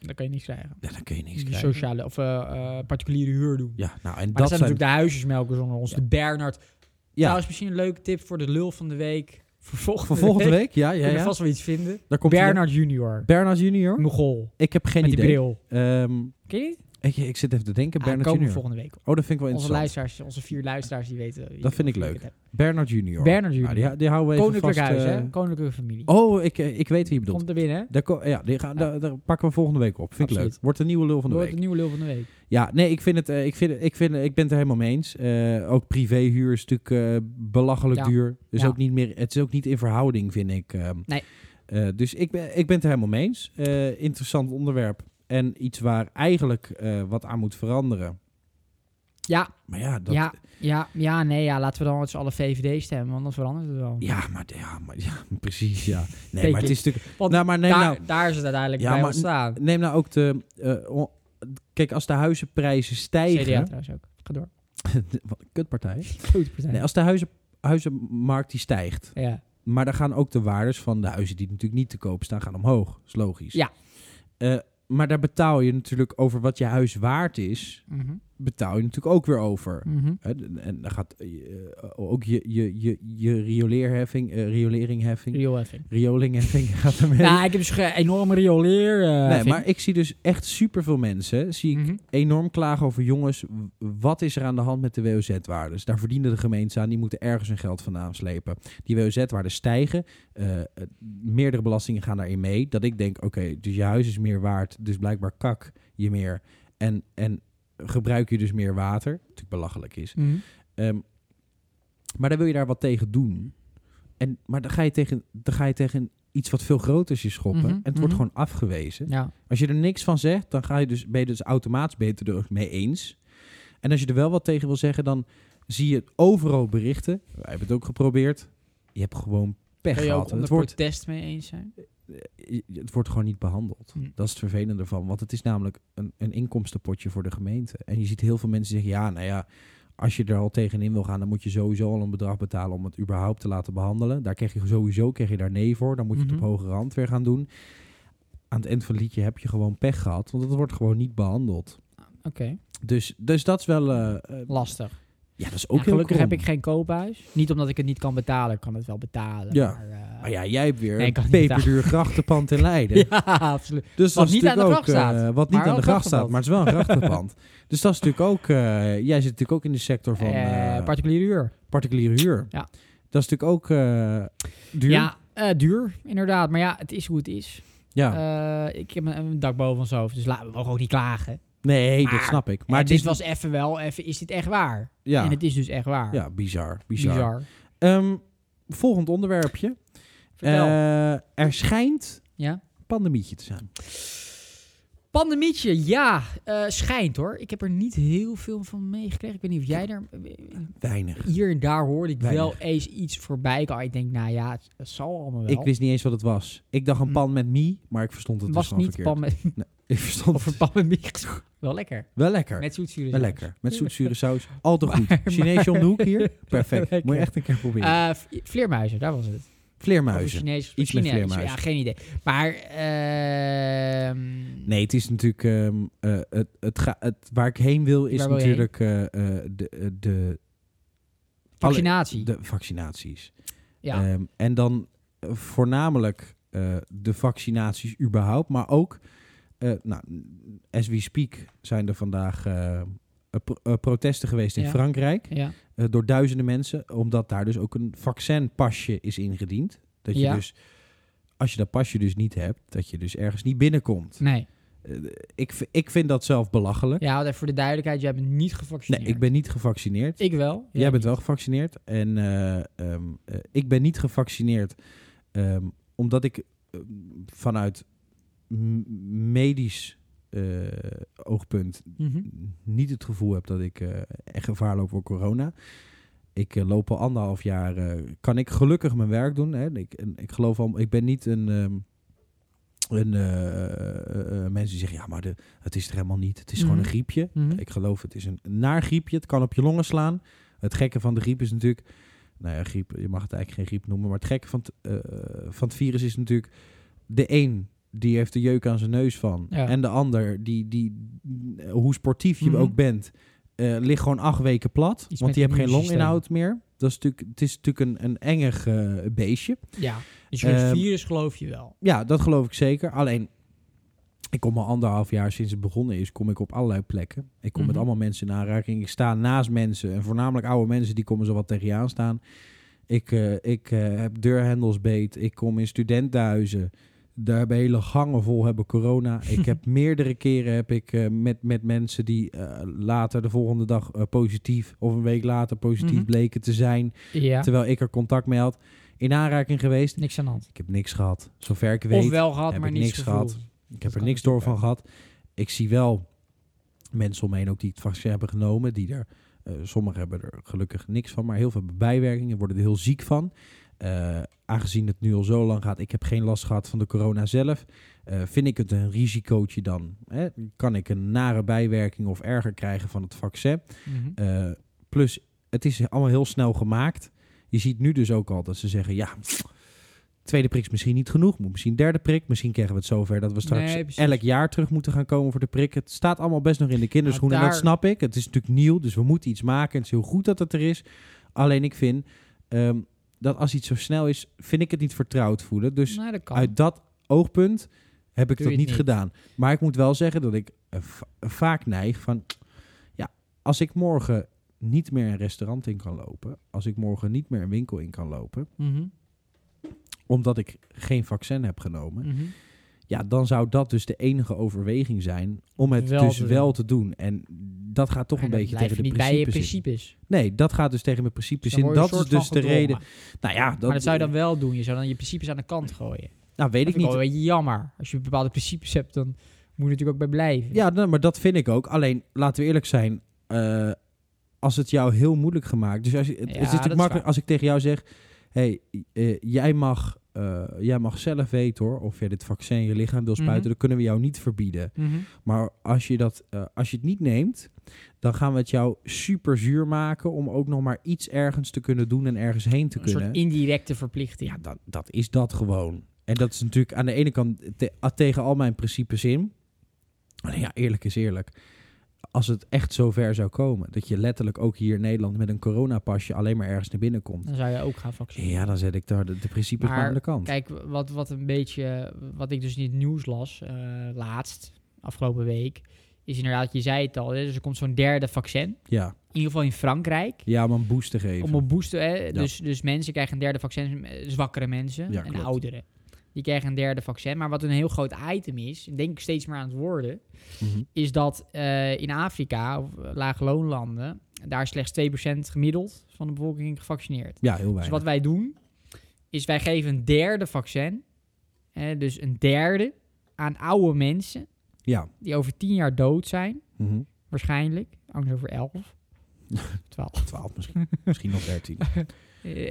Dan kan je niks krijgen. Ja, dan kun je niks Die krijgen. sociale of eh, eh, particuliere huur doen. Ja, nou, en Maar dat dat zijn zijn... natuurlijk de huisjesmelkers onder ons. Ja. De Bernard. Ja, Trouwens, misschien een leuke tip voor de lul van de week. Voor volgende, voor volgende week. week. Ja, ja, Kun je ja. vast wel iets vinden. Daar komt Bernard. Bernard Junior. Bernard junior? Mogol. Ik heb geen Met die idee. bril. Ehm, Ken je die? ik, ik zit even te denken. Ah, Bernard komen we junior. volgende week. Oh, dat vind ik wel Onze, interessant. luisteraars, onze vier luisteraars die weten. die Dat vind ik of leuk. het heb. Bernard junior. Bernard junior. Nou, die, die houden we even Koninklijk vast, huis, eh, hè? Koninklijke familie. Oh, ik, eh, ik weet wie je bedoelt. Komt er binnen, hè? Daar, ko- ja, die gaan, Daar, daar pakken we volgende week op. Vind ik Absoluut. leuk. Wordt een nieuwe lul van de Door week. de nieuwe lul van de week. Ja, nee, ik vind het, eh, ik vind, het- ik vind, het- ik ben het er helemaal mee eens. Eh, ook privéhuur is natuurlijk eh, belachelijk Ja. duur. Dus Ja. ook niet meer, het is ook niet in verhouding, vind ik. ehm. Nee. Eh, dus ik ben, ik ben het er helemaal mee eens. Eh, interessant onderwerp. En iets waar eigenlijk eh, wat aan moet veranderen. Ja, Maar ja, dat, ja, ja, ja, nee, ja. Laten we dan met z'n allen VVD stemmen, want dan verandert het wel. ja, maar, ja, maar ja, precies, ja. Nee, Fake maar het it. is natuurlijk... Want nou, maar neem daar, nou, daar is het uiteindelijk Ja, bij maar- ontstaan. neem nou ook de... eh, on- kijk, als de huizenprijzen stijgen... CDA trouwens ook. Ga door. Wat een kutpartij. Goed partij. Nee, als de huizen, huizenmarkt die stijgt... ja. Maar dan gaan ook de waardes van de huizen die natuurlijk niet te koop staan, gaan omhoog. is logisch. Ja. Eh, maar daar betaal je natuurlijk over wat je huis waard is, Mhm. betaal je natuurlijk ook weer over. Mhm. Hè, d- en dan gaat eh, eh, ook je, je, je, je rioleerheffing, eh, rioleeringheffing, Rioolheffing. riolingeheffing gaat er mee. Nou, ik heb dus een enorme rioleer. eh, nee, heffing. maar ik zie dus echt superveel mensen, zie ik Mhm. enorm klagen over jongens, w- wat is er aan de hand met de WOZ-waardes? Dus Daar verdienen de gemeenten aan, die moeten ergens hun geld vandaan slepen. Die WOZ-waarden stijgen, eh, eh, meerdere belastingen gaan daarin mee. Dat ik denk, oké, dus je huis is meer waard, dus blijkbaar kak je meer. En, en gebruik je dus meer water, wat natuurlijk belachelijk is. Mhm. Ehm, maar dan wil je daar wat tegen doen. En, maar dan ga, je tegen, dan ga je tegen iets wat veel groter is je schoppen. Mhm, en het mhm. wordt gewoon afgewezen. Ja. Als je er niks van zegt, dan ga je dus, ben je dus automatisch beter er mee eens. En als je er wel wat tegen wil zeggen, dan zie je overal berichten. Wij hebben het ook geprobeerd. Je hebt gewoon pech Kun je ook gehad. En onder Het wordt, protest mee eens zijn? eh, het wordt gewoon niet behandeld. Hm. Dat is het vervelende ervan. Want het is namelijk een, een inkomstenpotje voor de gemeente. En je ziet heel veel mensen zeggen, ja, nou ja... Als je er al tegenin wil gaan, dan moet je sowieso al een bedrag betalen om het überhaupt te laten behandelen. Daar krijg je sowieso krijg je daar nee voor. Dan moet je Mhm. het op hogere hand weer gaan doen. Aan het eind van het liedje heb je gewoon pech gehad, want het wordt gewoon niet behandeld. Oké, Dus, dus dat is wel. eh, eh, lastig. ja, dat is ook Ook heel gelukkig krom. heb ik geen koophuis. Niet omdat ik het niet kan betalen, ik kan het wel betalen. Ja. Maar, eh, Maar ja, jij hebt weer Nee, ik een kan niet peperduur grachtenpand in Leiden. ja, absoluut. Dus Wat dat is niet aan de natuurlijk gracht ook, staat. eh, wat niet Maar aan de wel gracht staat, grachtenpand. maar het is wel een grachtenpand. dus dat is natuurlijk ook. eh, jij zit natuurlijk ook in de sector van Eh, eh, particuliere huur. particuliere huur. Ja. Dat is natuurlijk ook eh, duur. Ja, eh, duur, inderdaad. Maar ja, het is hoe het is. Ja. Eh, ik heb een, een dak boven ons hoofd, dus laten we mogen ook niet klagen. nee, dat maar- snap ik. Maar Maar het dit is was even wel, even is dit echt waar? Ja, En het is dus echt waar. ja bizar. Bizar. Bizar. Ehm, volgend onderwerpje. Vertel. Eh, er schijnt ja? een pandemietje te zijn. Pandemietje, ja, eh, schijnt hoor. Ik heb er niet heel veel van meegekregen. Ik weet niet of jij daar... Weinig. Hier en daar hoorde ik wel Weinig. eens iets voorbij komen. Ik denk, nou ja, het, het zal allemaal wel. Ik wist niet eens wat het was. Ik dacht een Hm. pan met mie, maar ik verstond het het was dus gewoon niet verkeerd. pan met, Ik verstond of een het pan met mix. Wel lekker. wel lekker. Met zoetzuur. wel lekker. Met zoetzure saus. Al te goed. Maar- Chineesje om de hoek hier. Perfect. Lekker. Moet je echt een keer proberen. Eh, v- vleermuizen, daar was het. Of Vleermuizen. Chinees, Iets met China- vleermuizen. Ja, geen idee. Maar, ehm, Nee, het is natuurlijk. ehm, eh, het, het ga, het, waar ik heen wil is Waar wil je natuurlijk eh, eh, de, eh, de, vaccinatie. de vaccinaties. ja. Ehm, en dan eh, voornamelijk eh, de vaccinaties überhaupt, maar ook, eh, nou, as we speak zijn er vandaag eh, eh, pro- eh, protesten geweest in Ja. Frankrijk Ja. eh, door duizenden mensen, omdat daar dus ook een vaccinpasje is ingediend. Dat je Ja. dus, als je dat pasje dus niet hebt, dat je dus ergens niet binnenkomt. Nee. Eh, ik, v- ik vind dat zelf belachelijk. Ja, want even voor de duidelijkheid, jij bent niet gevaccineerd. nee, ik ben niet gevaccineerd. Ik wel. Jij bent wel gevaccineerd. En eh, ehm, eh, ik ben niet gevaccineerd ehm, omdat ik eh, vanuit m- medisch eh, oogpunt Mhm. niet het gevoel heb dat ik eh, echt gevaar loop voor corona. Ik eh, loop al anderhalf jaar, eh, kan ik gelukkig mijn werk doen. Hè? Ik, en ik geloof al, ik ben niet een, ehm, een eh, eh, mensen die zeggen, ja, maar de, het is er helemaal niet. Het is gewoon Mhm. een griepje. Mhm. Ik geloof, het is een naar griepje. Het kan op je longen slaan. Het gekke van de griep is natuurlijk... Nou ja, griep, je mag het eigenlijk geen griep noemen. Maar het gekke van het, eh, van het virus is natuurlijk... De een, die heeft de jeuk aan zijn neus van. Ja. En de ander, die, die, hoe sportief je Mhm. ook bent... eh, ligt gewoon acht weken plat. want Iets met die het heeft geen immuunsysteem. longinhoud meer. Dat is natuurlijk, het is natuurlijk een, een engig eh, beestje. Ja. Dus in het Ehm, virus geloof je wel. Ja, dat geloof ik zeker. Alleen, ik kom al anderhalf jaar sinds het begonnen is, kom ik op allerlei plekken. Ik kom met Mhm. allemaal mensen in aanraking. Ik sta naast mensen en voornamelijk oude mensen, die komen zo wat tegen je aan staan. Ik, eh, ik eh, heb deurhendels beet. Ik kom in studentenhuizen. Daar hebben hele gangen vol hebben corona. Ik heb meerdere keren heb ik, eh, met, met mensen die eh, later de volgende dag eh, positief of een week later positief Mhm. bleken te zijn. Ja. Terwijl ik er contact mee had. In aanraking geweest. Niks aan de hand. Ik heb niks gehad. Zover ik weet. Of wel gehad, heb maar ik niets niks gevoeld. Ik heb Dat er kan niks door van natuurlijk gehad. Ik zie wel mensen om me heen ook die het vaccin hebben genomen. Die er, eh, sommigen hebben er gelukkig niks van, maar heel veel bijwerkingen worden er heel ziek van. Eh, aangezien het nu al zo lang gaat, ik heb geen last gehad van de corona zelf. eh, vind ik het een risicootje dan? Hè? Kan ik een nare bijwerking of erger krijgen van het vaccin? Mhm. Eh, plus, het is allemaal heel snel gemaakt. Je ziet nu dus ook al dat ze zeggen, ja, tweede prik is misschien niet genoeg. Moet misschien derde prik. Misschien krijgen we het zover dat we straks Nee, precies. elk jaar terug moeten gaan komen voor de prik. Het staat allemaal best nog in de kinderschoenen. Nou, En dat daar- snap ik. Het is natuurlijk nieuw, dus we moeten iets maken. Het is heel goed dat het er is. Alleen ik vind ehm, dat als iets zo snel is, vind ik het niet vertrouwd voelen. Dus Nee, Nou, dat kan. uit dat oogpunt heb ik Doe dat je niet het niet. gedaan. Maar ik moet wel zeggen dat ik eh, va- vaak neig van... Ja, als ik morgen niet meer een restaurant in kan lopen... als ik morgen niet meer een winkel in kan lopen... Mhm. omdat ik geen vaccin heb genomen... Mhm. ja, dan zou dat dus de enige overweging zijn... om het Wel dus te doen. wel te doen. En dat gaat toch Maar een Nou, dan beetje blijf tegen de je niet principes bij je in. principes. Nee, dat gaat dus tegen mijn principes Dan in. word je Dat een is soort dus van de gedwongen. reden... Nou ja, dat, maar dat zou je dan wel doen. Je zou dan je principes aan de kant gooien. nou, weet Dat ik vind niet. ik wel een beetje jammer. Als je bepaalde principes hebt, dan moet je natuurlijk ook bij blijven. Ja, nee, maar dat vind ik ook. Alleen, laten we eerlijk zijn, eh, als het jou heel moeilijk gemaakt... Dus als je, het, het Ja, is natuurlijk dat is makkelijk waar. als ik tegen jou zeg... hey, eh, jij, mag, eh, jij mag zelf weten hoor, of je dit vaccin in je lichaam wil spuiten. Mhm. Dat kunnen we jou niet verbieden. Mhm. Maar als je, dat, eh, als je het niet neemt, dan gaan we het jou super zuur maken... om ook nog maar iets ergens te kunnen doen en ergens heen te Een soort kunnen. indirecte verplichting. Ja, dat, dat is dat gewoon. En dat is natuurlijk aan de ene kant te- a- tegen al mijn principes in. Maar ja, eerlijk is eerlijk. Als het echt zover zou komen, dat je letterlijk ook hier in Nederland met een coronapasje alleen maar ergens naar binnen komt. Dan zou je ook gaan vaccineren. Ja, dan zet ik daar de, de principes maar, Maar aan de kant. Kijk, wat, wat een beetje, wat ik dus in het nieuws las, eh, laatst, afgelopen week, is inderdaad, je zei het al, hè, dus er komt zo'n derde vaccin. ja. In ieder geval in Frankrijk. ja, om een boost te geven. Om een booster, hè, dus, dus mensen krijgen een derde vaccin, eh, zwakkere mensen Ja, en klopt. ouderen. Die krijgen een derde vaccin. Maar wat een heel groot item is, en denk ik steeds meer aan het worden, Mhm. is dat eh, in Afrika, of eh, laagloonlanden, daar is slechts 2% gemiddeld van de bevolking gevaccineerd. Ja, heel Dus weinig. wat wij doen, is wij geven een derde vaccin. Hè, dus een derde aan oude mensen Ja. die over tien jaar dood zijn. Mhm. Waarschijnlijk. Angst over elf. Twaalf. 12 misschien. misschien nog 13. Eh,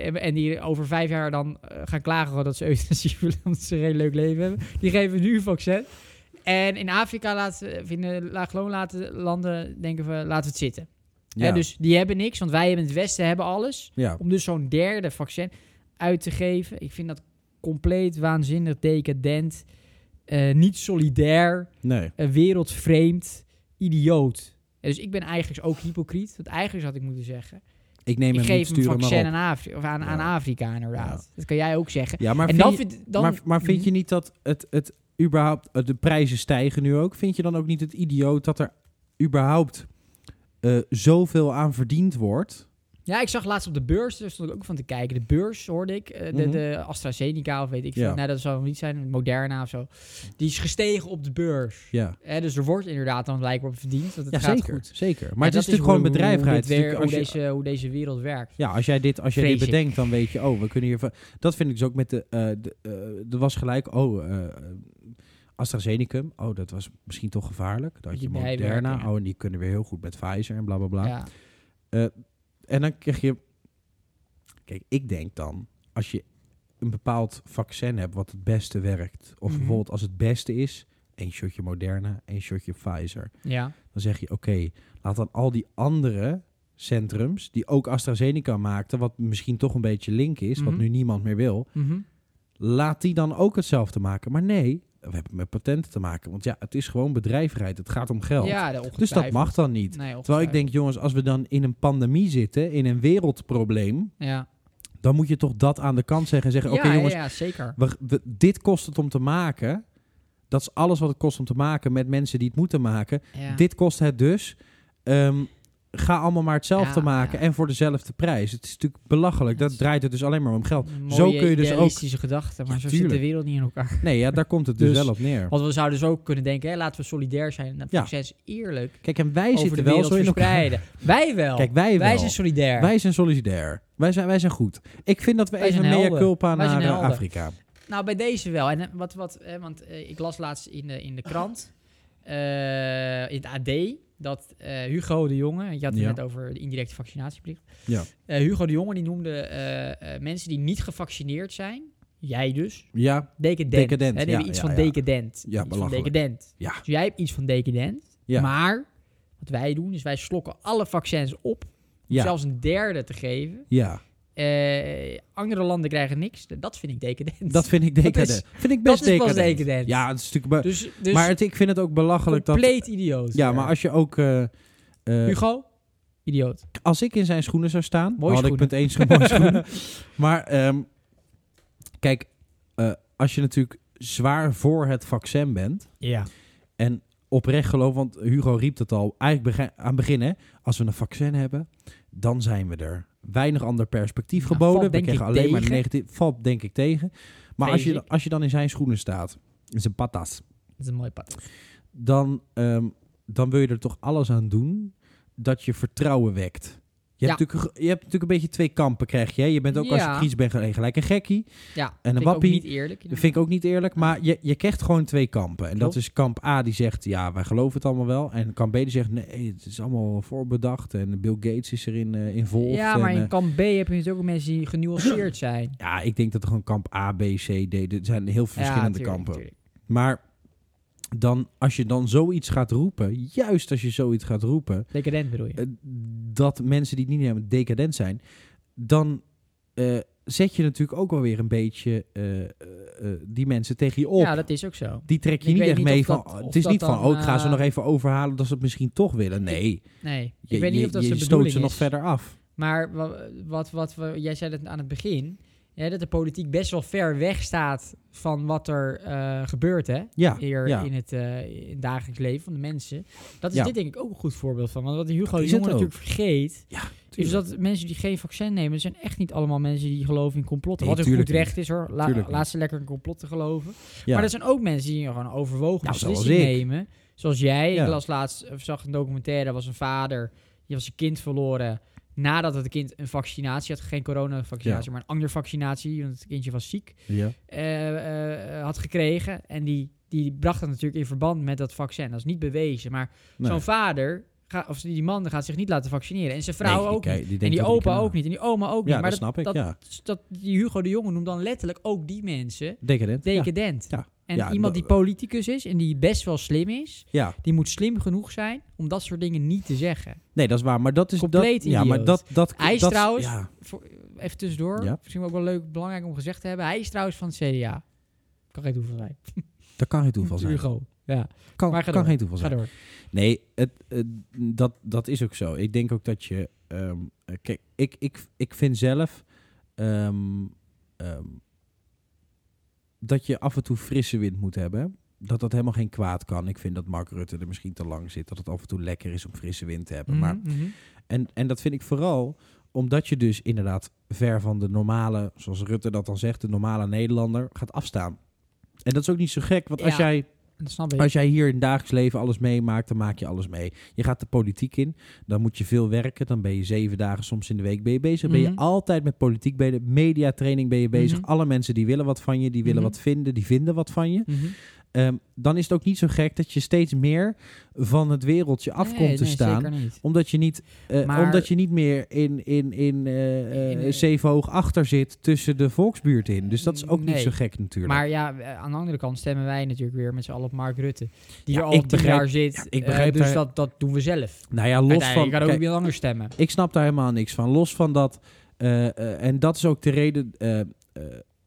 En en die over vijf jaar dan eh, gaan klagen dat ze euthanasie willen, omdat ze een heel leuk leven hebben. Die geven nu een vaccin. En in Afrika laten, vinden laagloonlanden landen, denken we, laten we het zitten. Hè, Ja. dus die hebben niks, want wij hebben in het Westen hebben alles. ja. om dus zo'n derde vaccin uit te geven. Ik vind dat compleet waanzinnig decadent, eh, niet solidair, Nee. eh, wereldvreemd, idioot. En dus ik ben eigenlijk ook hypocriet, want eigenlijk had ik moeten zeggen. Ik neem ik hem niet, geef een stuur hem maar vaccin op. aan, Afri- of aan, aan Ja. Afrika inderdaad. Dat kan jij ook zeggen. Ja, maar en vind dan je- vind, dan, Mhm. maar, maar vind je niet dat het, het überhaupt, eh, de prijzen stijgen nu ook? Vind je dan ook niet het idioot dat er überhaupt eh, eh, zoveel aan verdiend wordt. Ja, ik zag laatst op de beurs, daar stond ik ook van te kijken. De beurs hoorde ik, eh, de, Mhm. de AstraZeneca of weet ik veel. Ja. Nee, dat zou nog niet zijn, Moderna of zo. Die is gestegen op de beurs. Ja, Hè, dus er wordt inderdaad dan blijkbaar op verdiend, want het ja gaat zeker, goed. zeker. Maar En het is dat natuurlijk gewoon hoe- bedrijvigheid. Hoe, dit Het weer- is hoe, natuurlijk als je- deze, hoe deze wereld werkt. Ja, als jij dit, als jij dit Vrees ik. bedenkt, dan weet je, oh, we kunnen hier... van- Dat vind ik dus ook met de... eh, de eh, er was gelijk, oh, eh, AstraZeneca, oh, dat was misschien toch gevaarlijk. Dat Die je bijwerkingen. Moderna, oh, en die kunnen weer heel goed met Pfizer en bla, bla, bla. Ja. En dan krijg je... Kijk, ik denk dan, als je een bepaald vaccin hebt wat het beste werkt... of Mhm. bijvoorbeeld als het beste is, één shotje Moderna, één shotje Pfizer... ja. Dan zeg je, oké, laat dan al die andere centrums... die ook AstraZeneca maakten, wat misschien toch een beetje link is... Mhm. wat nu niemand meer wil... Mhm. laat die dan ook hetzelfde maken. Maar nee, we hebben met patenten te maken. Want ja, het is gewoon bedrijvigheid. Het gaat om geld. Ja, daar dus dat ongetwijfeld. mag dan niet. Nee, Terwijl ongetwijfeld. ik denk, jongens, als we dan in een pandemie zitten... in een wereldprobleem... Ja, dan moet je toch dat aan de kant zeggen. En zeggen, ja, oké jongens, ja, ja, zeker. we, we- dit kost het om te maken. Dat is alles wat het kost om te maken met mensen die het moeten maken. Ja. Dit kost het dus. Ehm, ga allemaal maar hetzelfde Ja, maken ja. en voor dezelfde prijs. Het is natuurlijk belachelijk. Dat Dat is- draait het dus alleen maar om geld. Een Zo mooie kun je dus ook. idealistische gedachten, maar Ja, zo zit tuurlijk. de wereld niet in elkaar. Nee, ja, daar komt het dus, Dus- wel op neer. Want we zouden dus ook kunnen denken, hè, laten we solidair zijn. Dat Ja. succes eerlijk Kijk, en wij over de zitten wel wereld zo in elkaar. verspreiden. Wij wel. Kijk, wij wel. Wij zijn solidair. Wij zijn solidair. Wij zijn, wij zijn goed. Ik vind dat we Wij even zijn een mea helden. culpa Wij naar zijn eh, helden. Afrika. Nou, bij deze wel. En eh, wat, wat, hè, want eh, ik las laatst in de, in de krant, eh, in het AD, dat eh, Hugo de Jonge, je had het Ja. net over de indirecte vaccinatieplicht. Ja. Eh, Hugo de Jonge die noemde eh, eh, mensen die niet gevaccineerd zijn, jij dus, Ja, decadent. Decadent, Hè, die ja, hebben iets ja, van ja. decadent. Ja, iets van belachelijk. decadent. Ja. Dus jij hebt iets van decadent, Ja. maar wat wij doen is wij slokken alle vaccins op, om ja, zelfs een derde te geven. ja. Eh, andere landen krijgen niks. Dat vind ik decadent. Dat vind ik Dat is- decadent. vind ik best dat is pas decadent. decadent. Ja, het is natuurlijk... be- Dus, dus maar het, ik vind het ook belachelijk dat... compleet idioot. Ja, maar als je ook... eh, eh, Hugo, idioot. als ik in zijn schoenen zou staan, Mooie had ik schoenen. punt eens zo mooie schoenen. Maar ehm, kijk, eh, als je natuurlijk zwaar voor het vaccin bent Ja. en oprecht geloof, want Hugo riep dat al, eigenlijk begin- aan het begin, hè, als we een vaccin hebben, dan zijn we er. Weinig ander perspectief Nou, geboden. valt we denk kregen ik alleen maar tegen. negatief. Valt denk ik tegen. Maar als Vrees je, ik. als je dan in zijn schoenen staat, in zijn patas, Dat is een mooi pad. dan, ehm, dan wil je er toch alles aan doen dat je vertrouwen wekt. Je hebt, Ja. natuurlijk, ge- je hebt natuurlijk een beetje twee kampen, krijg je. hè? Je bent ook als je Ja. kritisch bent gelijk- gelijk een gekkie. Ja, een vind ik ook wappie niet eerlijk. Dat vind ik ook niet eerlijk. Maar je, je krijgt gewoon twee kampen. En Klopt. dat is kamp A die zegt, ja, wij geloven het allemaal wel. En kamp B die zegt, nee, het is allemaal voorbedacht. En Bill Gates is erin eh involved. ja, maar en, in eh, kamp B heb je natuurlijk ook mensen die genuanceerd zijn. ja, ik denk dat er gewoon kamp A, B, C, D... Er zijn heel veel ja, verschillende tuurlijk, kampen. tuurlijk. Maar dan, als je dan zoiets gaat roepen... Juist als je zoiets gaat roepen... Decadent bedoel je. eh, dat mensen die het niet hebben decadent zijn, dan eh, zet je natuurlijk ook wel weer een beetje eh, eh, eh, die mensen tegen je op. Ja, dat is ook zo. die trek je Ik niet weet echt niet mee of van. dat- of het is dat niet van, dan, oh, ik ga ze eh, nog even overhalen dat ze het misschien toch willen. Nee, Nee, ik je, weet niet je- of dat je zijn stoot bedoeling ze is. nog verder af. Maar wa- wat, wat, we- jij zei dat aan het begin, hè, dat de politiek best wel ver weg staat van wat er eh, gebeurt, hè? Ja, Hier ja. in, het, eh, in het dagelijks leven van de mensen. Dat is Ja. dit denk ik ook een goed voorbeeld van. Want wat Hugo Dat de is Jonge het ook. natuurlijk vergeet, tuurlijk. Is dat mensen die geen vaccin nemen, zijn echt niet allemaal mensen die geloven in complotten. Nee, Wat een goed tuurlijk recht is hoor. La, Tuurlijk niet. laat ze lekker in complotten geloven. Ja. Maar er zijn ook mensen die gewoon overwogen Nou, zoals beslissingen ik. nemen. Zoals jij. Ja. Ik las laatst, of zag een documentaire, er was een vader. Die was zijn kind verloren nadat het kind een vaccinatie had. Geen coronavaccinatie, maar een andere vaccinatie. Want het kindje was ziek. ja. eh, eh, had gekregen. En die, die bracht dat natuurlijk in verband met dat vaccin. Dat is niet bewezen. Maar Nee. zo'n vader, ga- of die man, gaat zich niet laten vaccineren. En zijn vrouw Nee, ook die- niet. die denkt En die dat ik opa erna- ook niet. En die oma ook niet. Ja, maar dat snap ik. dat- ja. dat, die Hugo de Jonge noemt dan letterlijk ook die mensen Decadent. Ja. decadent. Ja. En Ja, iemand die dat- politicus is en die best wel slim is, ja, die moet slim genoeg zijn om dat soort dingen niet te zeggen. nee, dat is waar. Maar dat is Compleet dat, Ja, maar idioot. dat, dat, Hij is dat, trouwens- Ja, Voor- even tussendoor, Ja. misschien ook wel leuk, belangrijk om gezegd te hebben. Hij is trouwens van het CDA. Kan geen toeval zijn. dat kan geen toeval zijn. Hugo. Ja, Kan, Maar ga kan door. geen toeval ga zijn. door. Nee, het, het- dat, dat is ook zo. Ik denk ook dat je. ehm, eh, kijk, ik, ik, ik vind zelf. ehm, ehm, dat je af en toe frisse wind moet hebben. dat dat helemaal geen kwaad kan. Ik vind dat Mark Rutte er misschien te lang zit. Dat het af en toe lekker is om frisse wind te hebben. Maar, Mhm, mhm. en, en dat vind ik vooral omdat je dus inderdaad ver van de normale, zoals Rutte dat dan zegt, de normale Nederlander gaat afstaan. En dat is ook niet zo gek, want als Ja. jij Dat snap ik. als jij hier in het dagelijks leven alles meemaakt, dan maak je alles mee. Je gaat de politiek in, dan moet je veel werken. Dan ben je zeven dagen soms in de week ben je bezig. Ben Mhm. je altijd met politiek bezig. Mediatraining ben je bezig. Mhm. Alle mensen die willen wat van je, die willen Mhm. wat vinden, die vinden wat van je. Mhm. Ehm, dan is het ook niet zo gek dat je steeds meer van het wereldje af Nee, komt te nee, staan. Zeker niet. Omdat je niet, eh, Maar- omdat je niet meer in, in, in, eh, eh, In- zeven hoog achter zit tussen de volksbuurt in. Dus dat is ook niet Nee. zo gek natuurlijk. Maar ja, we- aan de andere kant stemmen wij natuurlijk weer met z'n allen op Mark Rutte. Die Ja, er al ik tien begrijp- jaar zit. ja, ik eh, begrijp dus daar- dat, dat doen we zelf. nou ja, los van... Je kan ook kijk, weer anders stemmen. Ik snap daar helemaal niks van. Los van dat. eh, eh, en dat is ook de reden. eh, eh,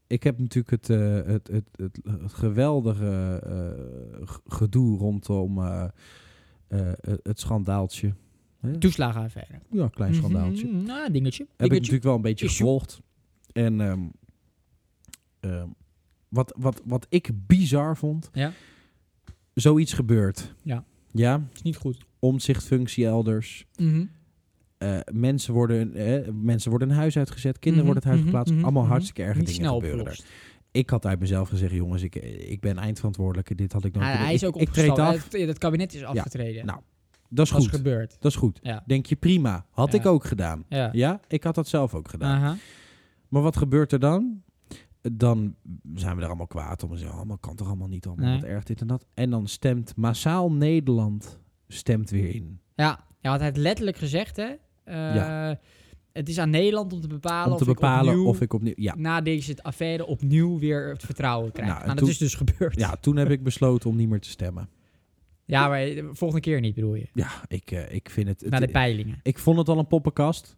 ik heb natuurlijk het, eh, het, het, het, het geweldige eh, g- gedoe rondom eh, eh, het schandaaltje. Hè? Toeslagenaffaire. Ja, klein schandaaltje. Mhm, Nou, dingetje. Heb ik dingetje. natuurlijk wel een beetje Issue. gevolgd. En ehm, ehm, wat, wat, wat ik bizar vond. Ja. Zoiets gebeurt. Ja. Ja. is niet goed. Omzichtfunctie elders. Mhm. Eh, mensen, worden, eh, mensen worden een huis uitgezet, kinderen Mhm, worden het huis mhm, geplaatst. mhm, allemaal mhm. hartstikke erge Niet dingen snel gebeuren opgelost. er. Ik had uit mezelf gezegd, jongens, ik, eh, ik ben eindverantwoordelijke. Dit had ik nooit Ah, kunnen- hij is ik- ook Ik treed opgestapt. af. Het, het kabinet is afgetreden. nou, Dat is dat is goed. gebeurd. Dat is goed. Ja. Denk je, prima. Had Ja. ik ook gedaan. Ja. Ja, ik had dat zelf ook gedaan. Aha. Maar wat gebeurt er dan? Dan zijn we er allemaal kwaad om. En zeggen, allemaal kan toch allemaal niet allemaal. Nee. Wat erg dit en dat. En dan stemt massaal Nederland stemt weer in. Ja. ja, had hij het letterlijk gezegd, hè? Eh, Het is aan Nederland om te bepalen Om te of bepalen ik opnieuw, of ik opnieuw... Ja, na deze affaire opnieuw weer het vertrouwen krijg. Nou, Nou, en dat toen- is dus gebeurd. ja, toen heb ik besloten om niet meer te stemmen. Ja, maar eh, volgende keer niet bedoel je. Ja, ik, eh, ik vind het... het- Na de peilingen. ik vond het al een poppenkast.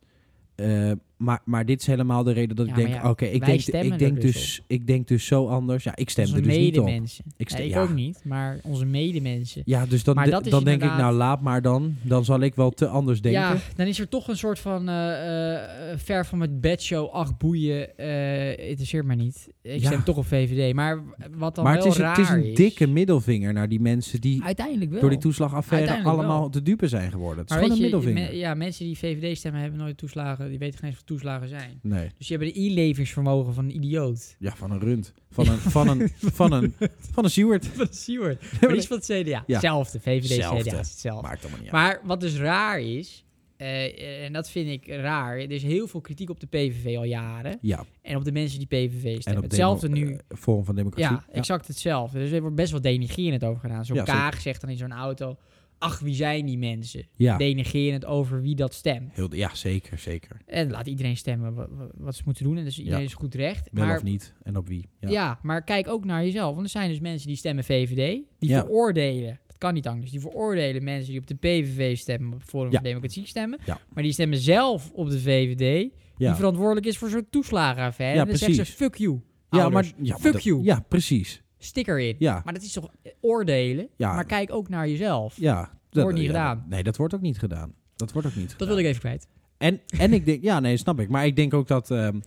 Eh, maar, maar dit is helemaal de reden dat Ja, ik denk... maar Oké, ja, ik, wij denk, stemmen ik, denk er dus dus, ik denk dus zo anders. Ja, ik stem onze er dus niet op. medemensen. Ik stem- Nee, ik ja. ook niet, maar onze medemensen. Ja, dus dan, Maar dat is dan denk ik, inderdaad- nou laat maar dan. Dan zal ik wel te anders denken. Ja, dan is er toch een soort van eh, eh, eh, ver van mijn bedshow, ach boeien, eh interesseert mij niet. Ik Ja. stem toch op VVD. Maar wat dan maar wel het is, een- raar het is een dikke middelvinger naar die mensen die Uiteindelijk wel. door die toeslagaffaire Uiteindelijk allemaal wel. te dupe zijn geworden. Het is maar gewoon weet een je, middelvinger. me- ja, mensen die VVD stemmen hebben nooit toeslagen. Die weten geen eens wat toeslagen zijn. Nee, Dus die hebben de inlevingsvermogen van een idioot. ja, van een rund. Van een, van een, van een, van een Seward. Van Seward. Maar die is van het CDA. Ja. Hetzelfde. VVD, Hetzelfde. CDA is hetzelfde. Maakt allemaal niet uit. Maar wat dus raar is, eh, en dat vind ik raar. Er is heel veel kritiek op de PVV al jaren. Ja, En op de mensen die PVV stemmen. en op hetzelfde demo- nu. eh, vorm van democratie. Ja, exact hetzelfde. Dus er wordt best wel denigrerend over gedaan. Zo'n Ja, zeker. Kaag zegt dan in zo'n auto... Ach, wie zijn die mensen? ja. Denigrerend over wie dat stemt. Heel, ja zeker, zeker. En laat iedereen stemmen wa- wa- wat, ze moeten doen. En dus iedereen Ja. is goed recht. Wel maar, of niet en op wie. Ja. maar kijk ook naar jezelf. Want er zijn dus mensen die stemmen VVD. Die Ja. veroordelen... Dat kan niet anders. Die veroordelen mensen die op de PVV stemmen... op Forum Ja. voor Democratie stemmen. Ja. Maar die stemmen zelf op de VVD... die Ja, verantwoordelijk is voor zo'n toeslagenaffaire. Ja, en dan zeggen ze, precies. fuck you, ja ouders. maar... Ja, maar Fuck dat- you. Ja, precies. Stik erin. Ja, Maar dat is toch oordelen? ja. Maar kijk ook naar jezelf. ja wordt niet ja, gedaan. Nee, dat wordt ook niet gedaan. Dat wordt ook niet Dat gedaan. wil ik even kwijt. En, en ik denk... Ja, nee, snap ik. Maar ik denk ook dat... ehm,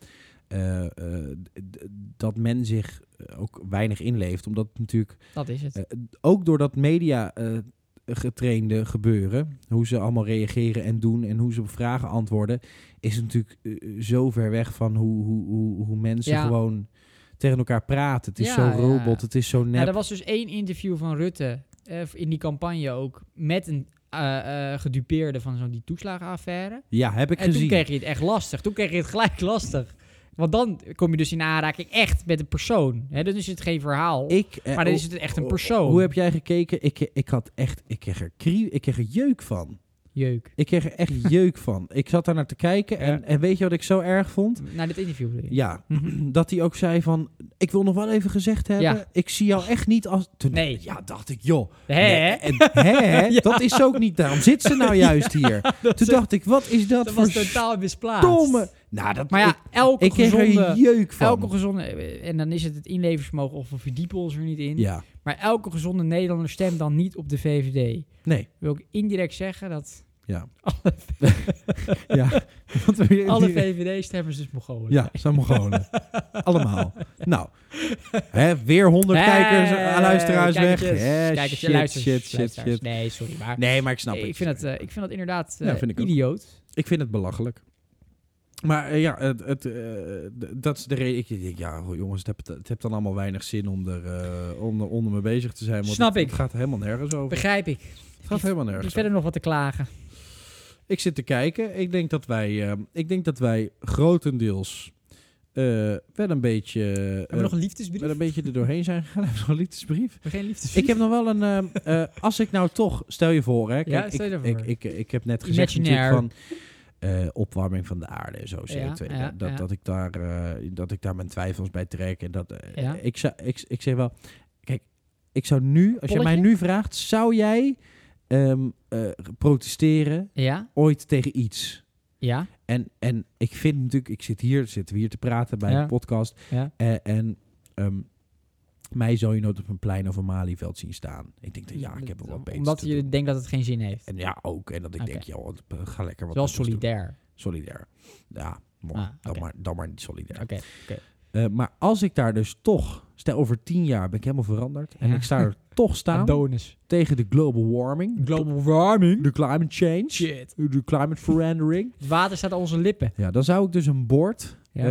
eh, eh, d- d- dat men zich eh, ook weinig inleeft. Omdat natuurlijk... Dat is het. eh, ook door dat media... eh, getrainde gebeuren, hoe ze allemaal reageren en doen en hoe ze op vragen antwoorden, is natuurlijk eh, zo ver weg van hoe, hoe, hoe, hoe mensen Ja. gewoon tegen elkaar praten. Het is Ja, zo ja, ja. robot, het is zo nep. Nou, er was dus één interview van Rutte eh, in die campagne ook met een eh, eh, gedupeerde van zo'n die toeslagenaffaire. Ja, heb ik en gezien. toen kreeg je het echt lastig. Toen kreeg je het gelijk lastig. Want dan kom je dus in aanraking echt met een persoon. Hè, dan is het geen verhaal. ik, eh, maar dan oh, is het echt een oh, persoon. Hoe heb jij gekeken? Ik, eh, ik had echt, ik kreeg er, krie, ik kreeg er jeuk van. Jeuk. Ik kreeg er echt jeuk van. Ik zat daar naar te kijken en, Ja. en weet je wat ik zo erg vond? Naar dit interview. bedoel je? Ja, dat hij ook zei van, ik wil nog wel even gezegd hebben, Ja. ik zie jou echt niet als... Toen, Nee. Ja, dacht ik, joh. Hè? Nee, en- hè? Ja. Dat is ook niet, daarom zit ze nou juist hier. Toen dacht ik, wat is dat, Dat voor was totaal misplaatst. stomme... Nou, dat, Maar ja, elke ik, ik kreeg gezonde... er jeuk van. Elke gezonde, en dan is het het inlevensvermogen, of we verdiepen ons er niet in. Ja, Maar elke gezonde Nederlander stemt dan niet op de VVD. nee, Wil ik indirect zeggen dat ja. alle, ja. Want we weer Alle die- VVD-stemmers is dus Mongolen. Ja, zijn Mongolen. Allemaal. Nou, hè, weer 100 Hey, kijkers en luisteraars weg. kijkertjes, Hè, kijkertjes, shit, luisteraars, shit, shit, luisteraars. shit. Nee, sorry, maar... Nee, maar ik snap Nee, het. ik, vind dat, eh, ik vind dat inderdaad eh, Ja, vind ik ook. idioot. Ik vind het belachelijk. Maar eh, ja, het, het, eh, d- dat is de reden. Ik denk, ja, goh, jongens, het heeft, het heeft dan allemaal weinig zin om er eh, onder, onder me bezig te zijn. Want Snap het, ik. Het gaat helemaal nergens over. Begrijp ik. Het gaat helemaal Er is nergens verder nog wat te klagen. Ik zit te kijken. Ik denk dat wij, eh, ik denk dat wij grotendeels eh, wel een beetje... eh, Hebben we nog een liefdesbrief? wel een beetje er doorheen zijn gegaan. Hebben we nog een liefdesbrief? Hebben we geen liefdesbrief? Ik heb nog wel een. eh, eh, als ik nou toch, stel je voor, hè? Ja, stel je ik, ervoor. ik, ik, ik heb net gezegd natuurlijk Imaginaire. van eh, opwarming van de aarde en zo CO2. Ja, ja, dat, ja. dat ik daar, eh, dat ik daar mijn twijfels bij trek en dat. eh, Ja. Ik zou, ik, ik zeg wel, kijk, ik zou nu, als je mij Polletje? nu vraagt, zou jij ehm, eh, protesteren Ja, ooit tegen iets? ja. En, en ik vind natuurlijk, ik zit hier, zitten we hier te praten bij Ja. een podcast. Ja. En, en ehm, mij zou je nooit op een plein of een malieveld zien staan. Ik denk, dat, ja, ik heb wel wat beter. Omdat te je doen. denkt dat het geen zin heeft. En ja, ook. En dat ik Oké. denk, joh, wat- eh, ga lekker wat Wel anders doen. solidair. Solidair. Ja, mooi. Ah, dan, oké. maar, dan maar niet solidair. Oké. Eh, maar als ik daar dus toch, stel over tien jaar ben ik helemaal veranderd. En Ja. ik sta er toch staan Adonis. tegen de global warming. Global warming. De climate change. Shit. De climate verandering. Het water staat aan onze lippen. Ja, dan zou ik dus een bord Ja.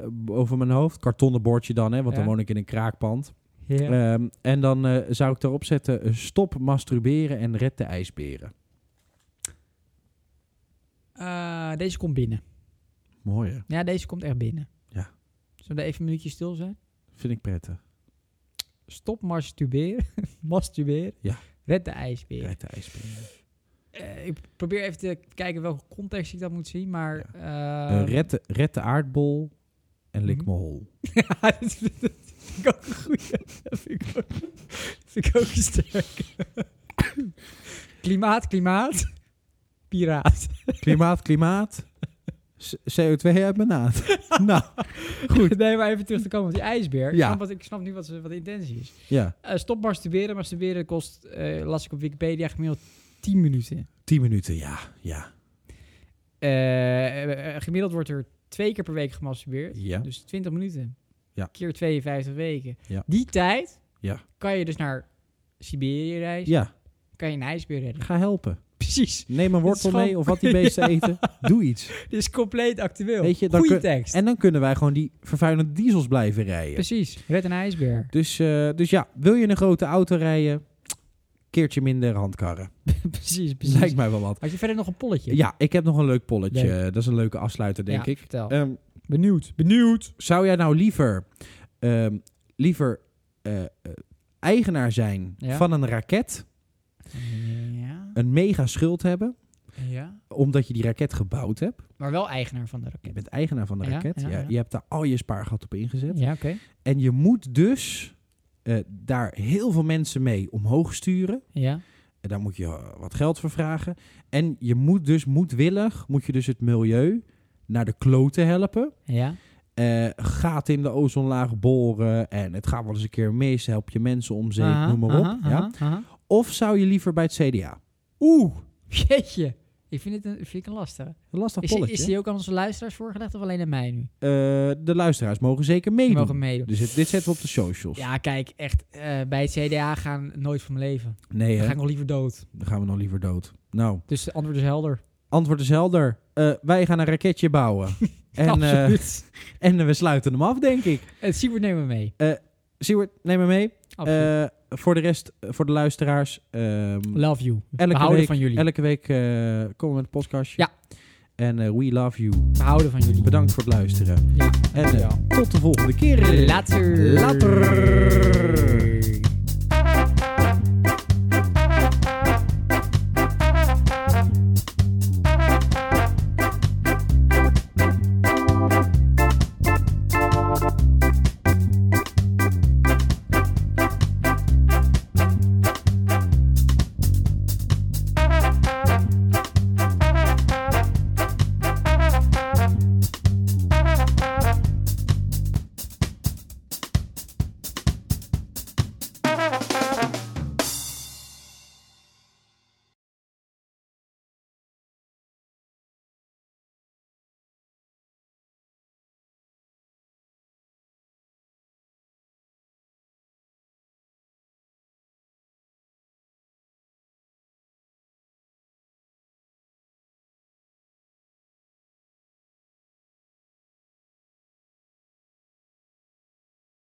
eh, b- over mijn hoofd. Kartonnen bordje dan, hè, want dan Ja. woon ik in een kraakpand. Ja. Ehm, en dan eh, zou ik daarop zetten: eh, stop masturberen en red de ijsberen. Eh, deze komt binnen. Mooi, hè? Ja, deze komt echt binnen. Ja. Zullen we even een minuutje stil zijn? Vind ik prettig. Stop masturberen. masturberen. Ja. Red de ijsbeer. Red de ijsberen. Eh, ik probeer even te kijken welke context ik dat moet zien, maar... Eh, eh, red, de, red de aardbol en lik Mhm. me hol. Ja, dat, dat- dat vind ik ook een goeie. Dat vind ik ook, dat vind ik ook sterk. klimaat, klimaat. Piraat. Klimaat, klimaat. S- CO2 uit mijn naad. nou, Goed. Nee, maar even terug te komen op die ijsbeer. Ja. Ik, snap wat, ik snap nu wat, ze- wat de intentie is. ja, Eh, stop masturberen. Masturberen kost, eh, las ik op Wikipedia, gemiddeld 10 minuten. 10 minuten, ja, ja. Eh, eh, gemiddeld wordt er twee keer per week gemasturbeerd. ja. Dus 20 minuten. Ja. Keer 52 weken. Ja. Die tijd Ja. kan je dus naar Siberië reizen. Ja, Kan je een ijsbeer redden. ga helpen. Precies. Neem een Het is wortel mee gewoon- of wat die beesten Ja. eten. Doe iets. Dit is compleet actueel. Weet je, dan Goeie kun- tekst. En dan kunnen wij gewoon die vervuilende diesels blijven rijden. Precies. Red een ijsbeer. Dus, eh, dus ja, wil je een grote auto rijden? Keertje minder handkarren. precies, precies. Lijkt mij wel wat. Had je verder nog een polletje? Ja, ik heb nog een leuk polletje. Leuk. Dat is een leuke afsluiter, denk Ja, ik. Vertel. Ehm, benieuwd, benieuwd. zou jij nou liever, ehm, liever eh, eh, eigenaar zijn Ja. van een raket, Eh. Ja. een mega schuld hebben, ja. omdat je die raket gebouwd hebt? Maar wel eigenaar van de Je raket. bent eigenaar van de Ja, raket. ja, Ja, ja. Je hebt daar al je spaargeld op ingezet. Ja, oké. En je moet dus eh, daar heel veel mensen mee omhoog sturen. Ja. En daar moet je eh, wat geld voor vragen. En je moet dus moedwillig, moet je dus het milieu naar de kloten helpen. Ja. Eh gaat in de ozonlaag boren en het gaat wel eens een keer mis. Help je mensen om zeep, Aha, noem maar op. aha, ja? aha, aha. Of zou je liever bij het CDA? Oeh, jeetje. Ik vind dit een, vind ik een lastige. Een lastig Is, die- polletje. is die ook aan onze luisteraars voorgelegd of alleen aan mij nu? Eh, de luisteraars mogen zeker Die meedoen. mogen meedoen. Dus het- dit zetten we op de socials. Ja, kijk, echt. eh, bij het CDA gaan nooit van mijn leven. Nee, Dan ga hè? ik nog liever dood. dan gaan we nog liever dood. Nou, Dus de antwoord is helder. antwoord is helder. Eh, wij gaan een raketje bouwen. en, eh, Absoluut. en we sluiten hem af, denk ik. Het Siebert nemen we mee. Siewert, neem me mee. Absoluut. Eh, voor de rest, eh, voor de luisteraars. ehm, Love you. elke we houden week, van jullie. Elke week eh, komen we met een podcastje. Ja. En eh, we love you. We houden van jullie. Bedankt voor het luisteren. Ja, En eh, dankjewel. tot de volgende keer. Later. Later.